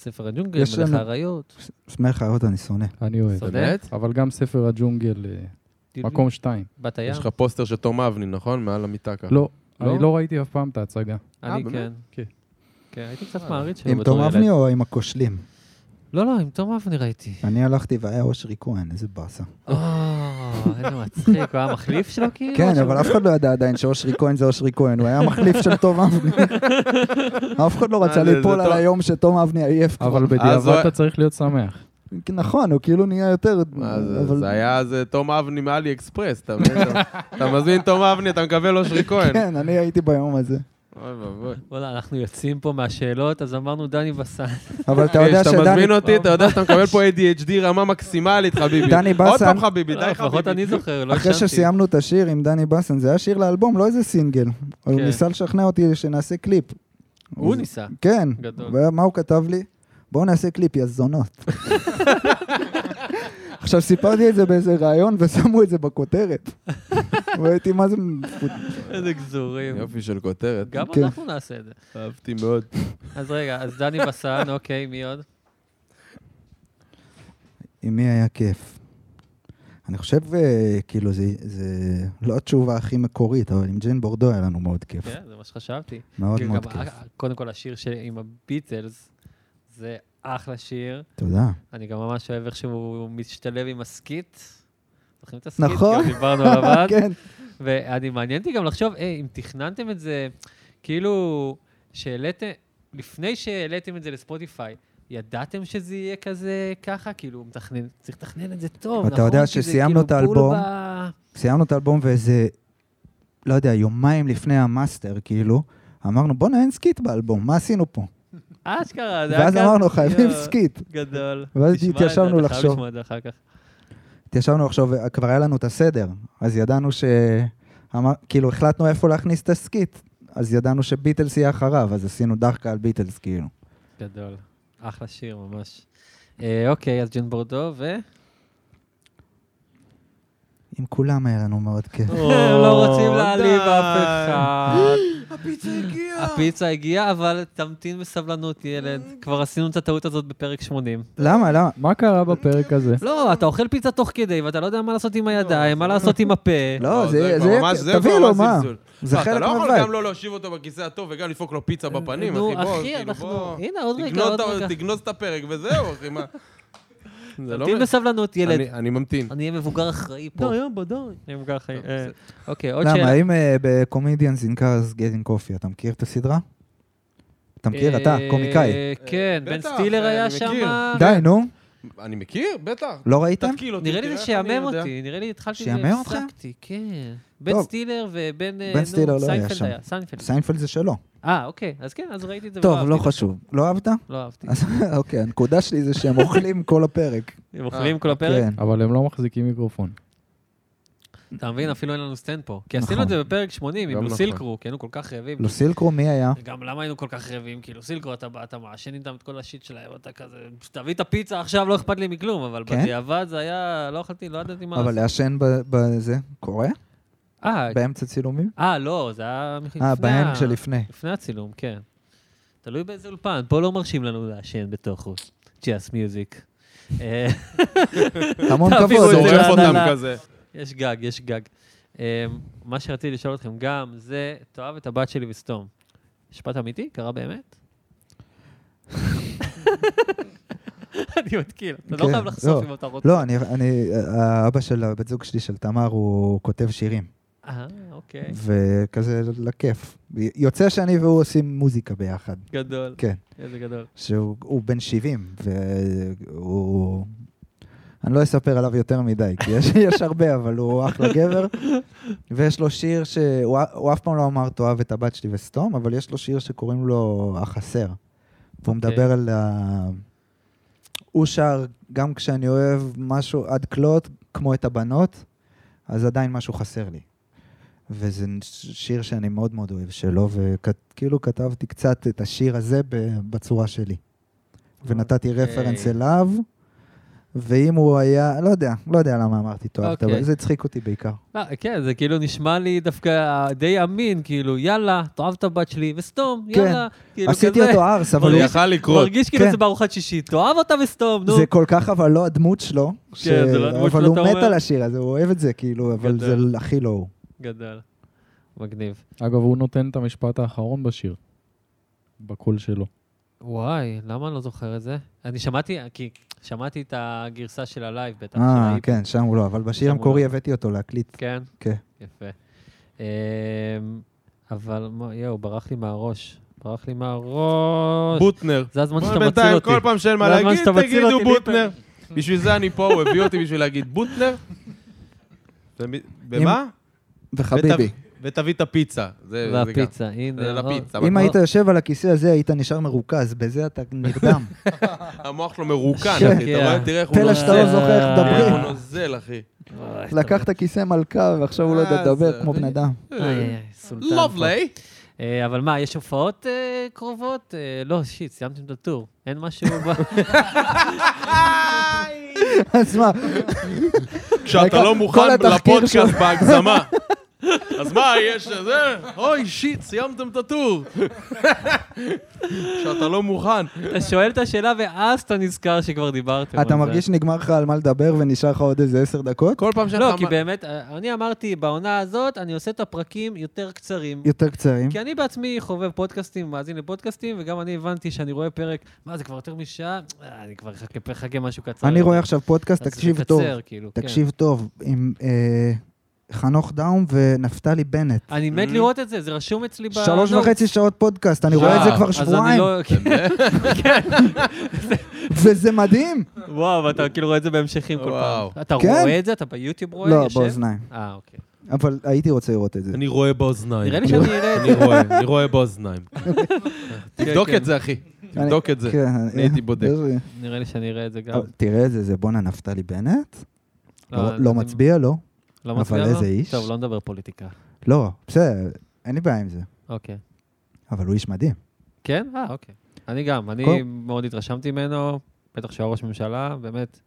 ספר הג'ונגל, יש מלך לנו- האריות. שמח חיות אני שונא. אני אוהב. סרט. באמת? אבל גם ספר הג'ונגל, אה, מקום שתיים. בת הים. יש לך פוסטר של תום אבני, נכון? מעל המיטה ככה. לא, לא? אני לא ראיתי אף פעם את ההצגה. אני באמת? כן. כן. כן, הייתי קצת מעריץ שלו עם בתור תום ילד. אבני או עם הכושלים? לא, לא, עם תום אבני ראיתי. אני הלכתי והיה אושרי כהן, איזה באסה. או, איזה מצחיק, הוא היה מחליף שלו כאילו? כן, משהו? אבל אף אחד לא ידע עדיין שאושרי כהן זה אושרי כהן, הוא היה מחליף של תום אבני. אף אחד לא רצה אה, זה- זה ליפול על טוב. היום שתום אבני עייף כבר. אבל אז הוא בדיעבד היה- אתה צריך להיות שמח. נכון, הוא כאילו נהיה יותר... מה זה, אבל- זה היה אז אה, תום אבני מאלי אקספרס, אתה מבין? אתה- אתה מזמין תום אבני, אתה מקבל אושרי כהן. כן, אני הייתי ביום הזה. אוי ואבוי. וואלה, אנחנו יוצאים פה מהשאלות, אז אמרנו דני בסן. אבל אתה יודע כשאתה אה, מזמין שדני... אותי, אתה יודע שאתה מקבל פה ADHD רמה מקסימלית, חביבי. דני עוד בסן. אה, פעם חביבי, לא, די לפחות חביבי. אני זוכר, לא אחרי שסיימנו את השיר עם דני בסן, זה היה שיר לאלבום, לא איזה סינגל. הוא כן. ניסה לשכנע אותי שנעשה קליפ. הוא אז- ניסה. כן. גדול. ומה הוא כתב לי? בואו נעשה קליפ, יא זונות. עכשיו, סיפרתי את זה באיזה ראיון ושמו את זה בכותרת. והייתי, מה זה... מפוט- איזה גזורים. יופי של כותרת. גם כן. אנחנו נעשה את זה. אהבתי מאוד. אז רגע, אז דני בסן, אוקיי, מי עוד? עם מי היה כיף? אני חושב, אה, כאילו, זה- זה לא התשובה הכי מקורית, אבל עם ג'יין בורדו היה לנו מאוד כיף. כן, זה מה שחשבתי. מאוד גם מאוד ה- כיף. קודם כל, השיר של- עם הביטלס, זה אחלה שיר. תודה. אני גם ממש אוהב איך שהוא משתלב עם הסקיט. זוכרים את הסקיט? נכון. גם דיברנו עליו אז. כן. ואני, מעניין אותי גם לחשוב, היי, אם תכננתם את זה, כאילו, שהעליתם, לפני שהעליתם את זה לספוטיפיי, ידעתם שזה יהיה כזה ככה? כאילו, מתכנן, צריך לתכנן את זה טוב, אתה נכון? יודע כי זה שסיימנו כאילו את האלבום. בול ב- סיימנו את האלבום ואיזה, לא יודע, יומיים לפני המאסטר, כאילו, אמרנו, בואנה, אין סקיט באלבום, מה עשינו פה? אשכרה, זה היה ואז כזה- אמרנו, חייבים יואו, סקיט. גדול. ואז תשמע את זה, התיישבנו אתה חייב לחשוב. לשמוע את זה אחר כך. התיישבנו לחשוב, כבר היה לנו את הסדר, אז ידענו ש... אמר, כאילו, החלטנו איפה להכניס את הסקיט. אז ידענו שביטלס יהיה אחריו, אז עשינו דחקה על ביטלס, כאילו. גדול. אחלה שיר, ממש. אה, אוקיי, אז ג'ון בורדו ו... עם כולם היה לנו מאוד כיף. לא רוצים להעליב די. אף אחד. הפיצה הגיעה. הפיצה הגיעה, אבל תמתין בסבלנות, ילד. כבר עשינו את הטעות הזאת בפרק 80. למה, למה? מה קרה בפרק הזה? לא, אתה אוכל פיצה תוך כדי, ואתה לא יודע מה לעשות עם הידיים, מה לעשות נכון. עם הפה. לא, זה, כבר זה, ממש- תביא כבר לו, ממש מה? זלזול. זה לא, חלק אתה לא יכול מהווי. גם לא להושיב אותו בכיסא הטוב וגם לדפוק לו פיצה בפנים, לא, אחי. אה, נו, בוא, אחי, כאילו, אנחנו... בוא. הנה, עוד רגע, תגנוז עוד את ה- רגע. תגנוז את הפרק וזהו, אחי, מה? זה לא... תמתין בסבלנות, ילד. אני- לא, אני ממתין. אני אהיה מבוגר אחראי פה. די, בוא, די. אני מבוגר אחראי. אה, לא, בסדר. אוקיי, עוד למה, שאלה. אם אה, ב-Comedians in Cars Getting Coffee, אתה מכיר את הסדרה? אתה מכיר, אתה, אה, קומיקאי. כן, אה, בן בטח, סטילר אה, היה אני שם. מכיר. די, נו, אני מכיר, בטח. לא ראיתם? תתקיל אותי. נראה לי תראה זה איך אני שיאמם יודע. אותי, נראה לי התחלתי שיאמם אותך? והפסקתי, כן. בן טוב. סטילר ובן... אה, בן נו, סטילר לא היה סיינפלד שם. סיינפלד. סיינפלד זה שלו. אה, אוקיי, אז כן, אז ראיתי את זה. טוב, ולא לא אהבתי. חשוב. לא אהבת? לא אהבתי. אז אוקיי, הנקודה שלי זה שהם אוכלים כל הפרק. אה, הם אוכלים כל אוקיי. הפרק? כן. אבל הם לא מחזיקים מיקרופון. אתה מבין, אפילו אין לנו סטנד פה. כי נכון. לא עשינו את זה בפרק 80 עם גם לוסיל נכון. קרו, כי היינו כל כך רעבים. לוסיל קרו, מי היה? גם למה היינו כל כך רעבים? כי לוסיל קרו, אתה בא, אתה מעשן איתם את כל השיט שלהם, אתה כזה, תביא את הפיצה עכשיו, לא אכפת לי מכלום, אבל כן? בדיעבד זה היה, לא אכלתי, לא ידעתי מה אבל לעשות. לעשן ב- בזה קורה? אה, באמצע צילומים? אה, לא, זה היה מח- אה, לפני ה- בהם שלפני. לפני הצילום, כן. תלוי באיזה אולפן, פה לא מרשים לנו לעשן בתוכוס. ג'אס מיוזיק. אה, המון תעבירו כבוד. את זה שורף אותם להנהלה. כזה. יש גג, יש גג. אמ, מה שרציתי לשאול אתכם גם, זה, תאהב את הבת שלי וסתום. משפט אמיתי? קרה באמת? אני מתקיל, אתה לא כן, חייב לא. לחשוף אם אתה רוצה. לא, אני, אני, האבא של הבת זוג שלי, של תמר, הוא כותב שירים, אה, אוקיי, וכזה לכיף. יוצא שאני והוא עושים מוזיקה ביחד, גדול, כן. איזה גדול. שהוא הוא בן 70, והוא... אני לא אספר עליו יותר מדי, כי יש, יש הרבה, אבל הוא אחלה גבר. ויש לו שיר שהוא הוא אף פעם לא אמר, תאהב את הבת שלי וסתום, אבל יש לו שיר שקוראים לו החסר. והוא מדבר על ה... הוא שר, גם כשאני אוהב משהו עד כלות, כמו את הבנות, אז עדיין משהו חסר לי. וזה שיר שאני מאוד מאוד אוהב שלו, וכאילו כתבתי קצת את השיר הזה ב- בצורה שלי. ונתתי אוקיי. רפרנס אליו, ואם הוא היה, לא יודע, לא יודע למה אמרתי תאהבת, אוקיי. אבל זה הצחיק אותי בעיקר. לא, כן, זה כאילו נשמע לי דווקא די אמין, כאילו, יאללה, תאהב את הבת שלי וסתום, כן. יאללה. כאילו עשיתי כזה. אותו ארס, אבל זה הוא... מרגיש- יכל לקרות. מרגיש כאילו כן. זה בארוחת שישית, תאהב אותה וסתום, נו. זה כל כך אבל לא הדמות שלו, ש- זה לא הדמות אבל שלו, הוא אתה מת אומר? על השיר הזה, הוא אוהב את זה, כאילו, אבל זה גדול. הכי לא הוא. גדול. מגניב. אגב, הוא נותן את המשפט האחרון בשיר. בקול שלו. וואי, למה אני לא זוכר את זה? אני שמעתי, כי שמעתי את הגרסה של הלייב בטח. אה, שראיתי. כן, שם הוא לא, אבל בשיר שם הוא המקורי לא. הבאתי אותו להקליט. כן? כן. יפה. אמ, אבל מה- יואו, ברח לי מהראש. ברח לי מהראש. בוטנר. זה הזמן שאתה אבל מציל בינתיים, אותי. כל פעם שאין מה זה הזמן להגיד, שאתה מציל תגידו אותי, בוטנר. בשביל זה אני פה, הוא הביא אותי בשביל להגיד בוטנר. במה? וחביבי, ותב- ותביא את הפיצה. אה, זה- זה גם. והפיצה, נכון. הנה. זה עוד. לפיצה. לא- אם היית יושב על הכיסא הזה, היית נשאר מרוכז, בזה אתה נרדם. המוח שלו מרוקן, כן. אחי. אתה רואה? תראה איך הוא פלא שאתה לא נוזל. זוכר אה, איך איך מדברים. הוא נוזל, אחי. אוי, אתה- לקחת כיסא מלכה ועכשיו הוא לא יודע אה, לדבר זה- כמו בן אדם. איי, אה, איי, איי, סולטן. פה. לובלי. אה, אבל מה, יש הופעות אה, קרובות? אה, לא, שיט, סיימתם את הטור. אין משהו ב... אז מה, כשאתה לא מוכן כל התחקיר לפודקאסט שלו. בהגזמה. אז מה, יש זה? אוי, שיט, סיימתם את הטור. כשאתה לא מוכן. אתה שואל את השאלה ואז אתה נזכר שכבר דיברתם. על אתה זה. מרגיש שנגמר לך על מה לדבר ונשאר לך עוד איזה עשר דקות? כל פעם שאתה... לא, כי אמר- באמת, אה, אני אמרתי, בעונה הזאת אני עושה את הפרקים יותר קצרים. יותר קצרים. כי אני בעצמי חובב פודקאסטים, מאזין לפודקאסטים, וגם אני הבנתי שאני רואה פרק, מה, זה כבר יותר משעה? אה, אני כבר אחכה- אחכה משהו קצר. אני רואה עכשיו פודקאסט, אז תקשיב זה טוב. קצר, כאילו, כן. תקשיב טוב, עם אה, חנוך דאום ונפתלי בנט. אני Mm. מת לראות את זה, זה רשום אצלי ב... שלוש נו. וחצי שעות פודקאסט, אני רואה את זה אה, כבר אז אני שבועיים, לא- כן. וזה מדהים. וואו, ואתה כאילו רואה את זה בהמשכים כל וואו. פעם. אתה כן. רואה את זה? אתה ביוטיוב רואה? לא, יושב? באוזניים. אה, אוקיי. אבל הייתי רוצה לראות את זה. אני רואה באוזניים. נראה לי שאני אראה את אני רואה, אני רואה באוזניים. תבדוק כן. את זה, אחי. תבדוק את זה. כן, אני הייתי בודק. איזה- זה- נראה לי שאני אראה את זה גם. אבל תראה את זה, זה בואנה נפתלי בנט? לא- אני- לא מצביע לו? לא אבל מצביע לו? איזה איש. טוב, לא נדבר פוליטיקה. לא, בסדר, אין לי בעיה עם זה. אוקיי. אבל הוא איש מדהים. כן? אה, אוקיי. אני גם, אני קודם- מאוד התרשמתי ממנו, בטח שהוא הראש ממשלה, באמת.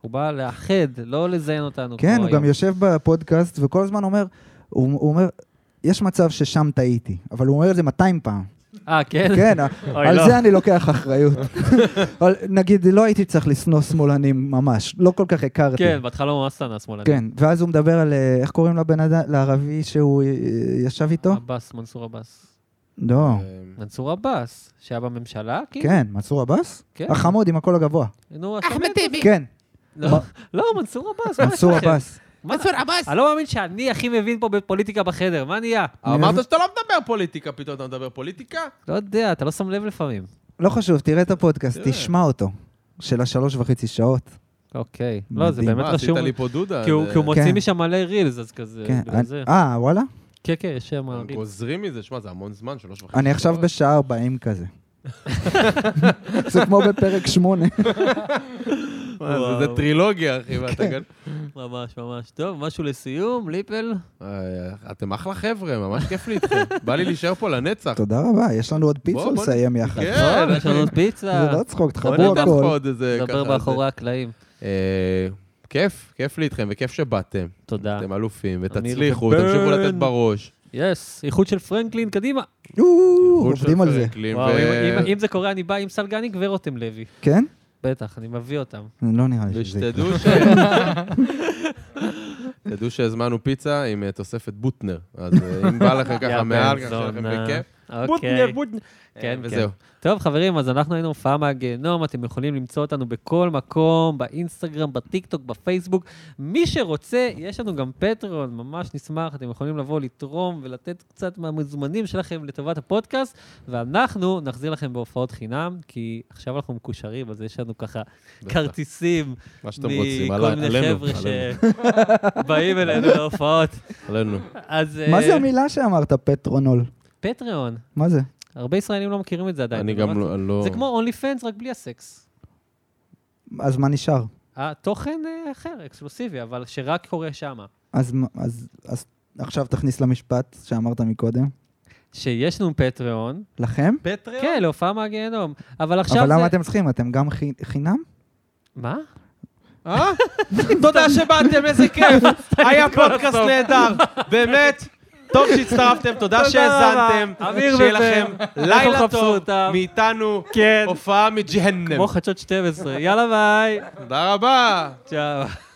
הוא בא לאחד, לא לזיין אותנו. כן, כמו הוא גם היום. יושב בפודקאסט וכל הזמן אומר, הוא הוא אומר, יש מצב ששם טעיתי, אבל הוא אומר את זה 200 פעם. אה, כן? כן, אוי, על לא. זה אני לוקח אחריות. אבל נגיד, לא הייתי צריך לשנוא שמאלנים ממש, לא כל כך הכרתי. כן, בהתחלה לא ממש שנא שמאלני. כן, ואז הוא מדבר על, אה, איך קוראים לבן אדם, לערבי שהוא אה, ישב איתו? עבאס, מנסור עבאס. לא. אמ, מנסור עבאס, שהיה בממשלה, כאילו? כן, מנסור עבאס? כן. אה, החמוד עם הקול הגבוה. נו, אחמד טיבי. כן, לא, מנסור עבאס. מה יש מנסור לכם? עבאס. מה- אני לא מאמין שאני הכי מבין פה בפוליטיקה בחדר, מה נהיה? אמרת שאתה לא מדבר פוליטיקה, פתאום אתה מדבר פוליטיקה? לא יודע, אתה לא שם לב לפעמים. לא חשוב, תראה את אה. הפודקאסט, תראה. תשמע אותו. של השלוש וחצי שעות. אוקיי. לא, זה מדהים. באמת מה, עשית רשום. לי פה דודה? כי הוא זה- כי הוא מוציא כן. משם מלא רילס, אז כזה. כן. בגלל זה. אה, וואלה? כן, כן, יש שם הם רילס. גוזרים מזה, שמע, זה המון זמן, שלוש וחצי. אני עכשיו שעות. בשעה 40 כזה. זה כמו בפרק 8. מה, אה, זה- וואו. זה טרילוגיה, אחי, ואתה כן. גן... ממש, ממש. טוב, משהו לסיום, ליפל? אה, אתם אחלה חבר'ה, ממש כיף לי איתכם. בא לי להישאר פה לנצח. תודה רבה, יש לנו עוד פיצה בוא, בוא לסיים יחד. כן, טוב, יש לנו עוד זה פיצה. לא צחוק, בוא תחברו נדבר פה הכל. עוד איזה... נדבר ככה, מאחורי הקלעים. זה- אה, כיף, כיף לי איתכם, וכיף שבאתם. תודה. אתם אלופים, אמיר ותצליחו, ובן. תמשיכו לתת אה, בראש. יס, איחוד של פרנקלין, קדימה. יואו, חוץ עובדים על של זה. פרנקלין, וואו, ו- אם- אם- אם זה קורה, אני בא עם סלגניק ורותם לוי. כן? בטח, אני מביא אותם. לא נראה לי שזה יקרה. ושתדעו ש... תדעו שהזמנו פיצה עם אה, תוספת בוטנר. אז אה, אם בא לכם יא ככה מעל, בן ככה שיהיה לכם זונה. בכיף. אוקיי. כן, כן, וזהו. טוב, חברים, אז אנחנו היינו הופעה מהגיהנום, אתם יכולים למצוא אותנו בכל מקום, באינסטגרם, בטיקטוק, בפייסבוק. מי שרוצה, יש לנו גם פטרון, ממש נשמח, אתם יכולים לבוא לתרום ולתת קצת מהמזומנים שלכם לטובת הפודקאסט, ואנחנו נחזיר לכם בהופעות חינם, כי עכשיו אנחנו מקושרים, אז יש לנו ככה כרטיסים מה שאתם רוצים, עלי- מכל מיני עלינו, חבר'ה עלינו, שבאים אלינו להופעות. עלינו. אז... מה זה אה, המילה שאמרת, פטרונול? פטריון. מה זה? הרבה ישראלים לא מכירים את זה עדיין. אני אתה גם לא- לא- לא... זה כמו אונלי פנס, רק בלי הסקס. אז מה נשאר? התוכן אה, אחר, אקסקלוסיבי, אבל שרק קורה שמה. אז מה- אז- אז עכשיו תכניס למשפט שאמרת מקודם. שיש לנו פטריון, לכם? פטריון? כן, להופעה מהגיהנום, אבל עכשיו אבל זה... למה אתם צריכים? אתם גם חי- חינם? מה? אה? תודה שבאתם, איזה כיף. היה פודקאסט נהדר. באמת, טוב שהצטרפתם, תודה תודה שהאזנתם. רבה. אמיר שיהיה ובן. לכם לכו לילה חפשו טוב אותם. מאיתנו, כן. הופעה מג'הנם. כמו חדשות 12. יאללה ביי. תודה רבה. צ'או.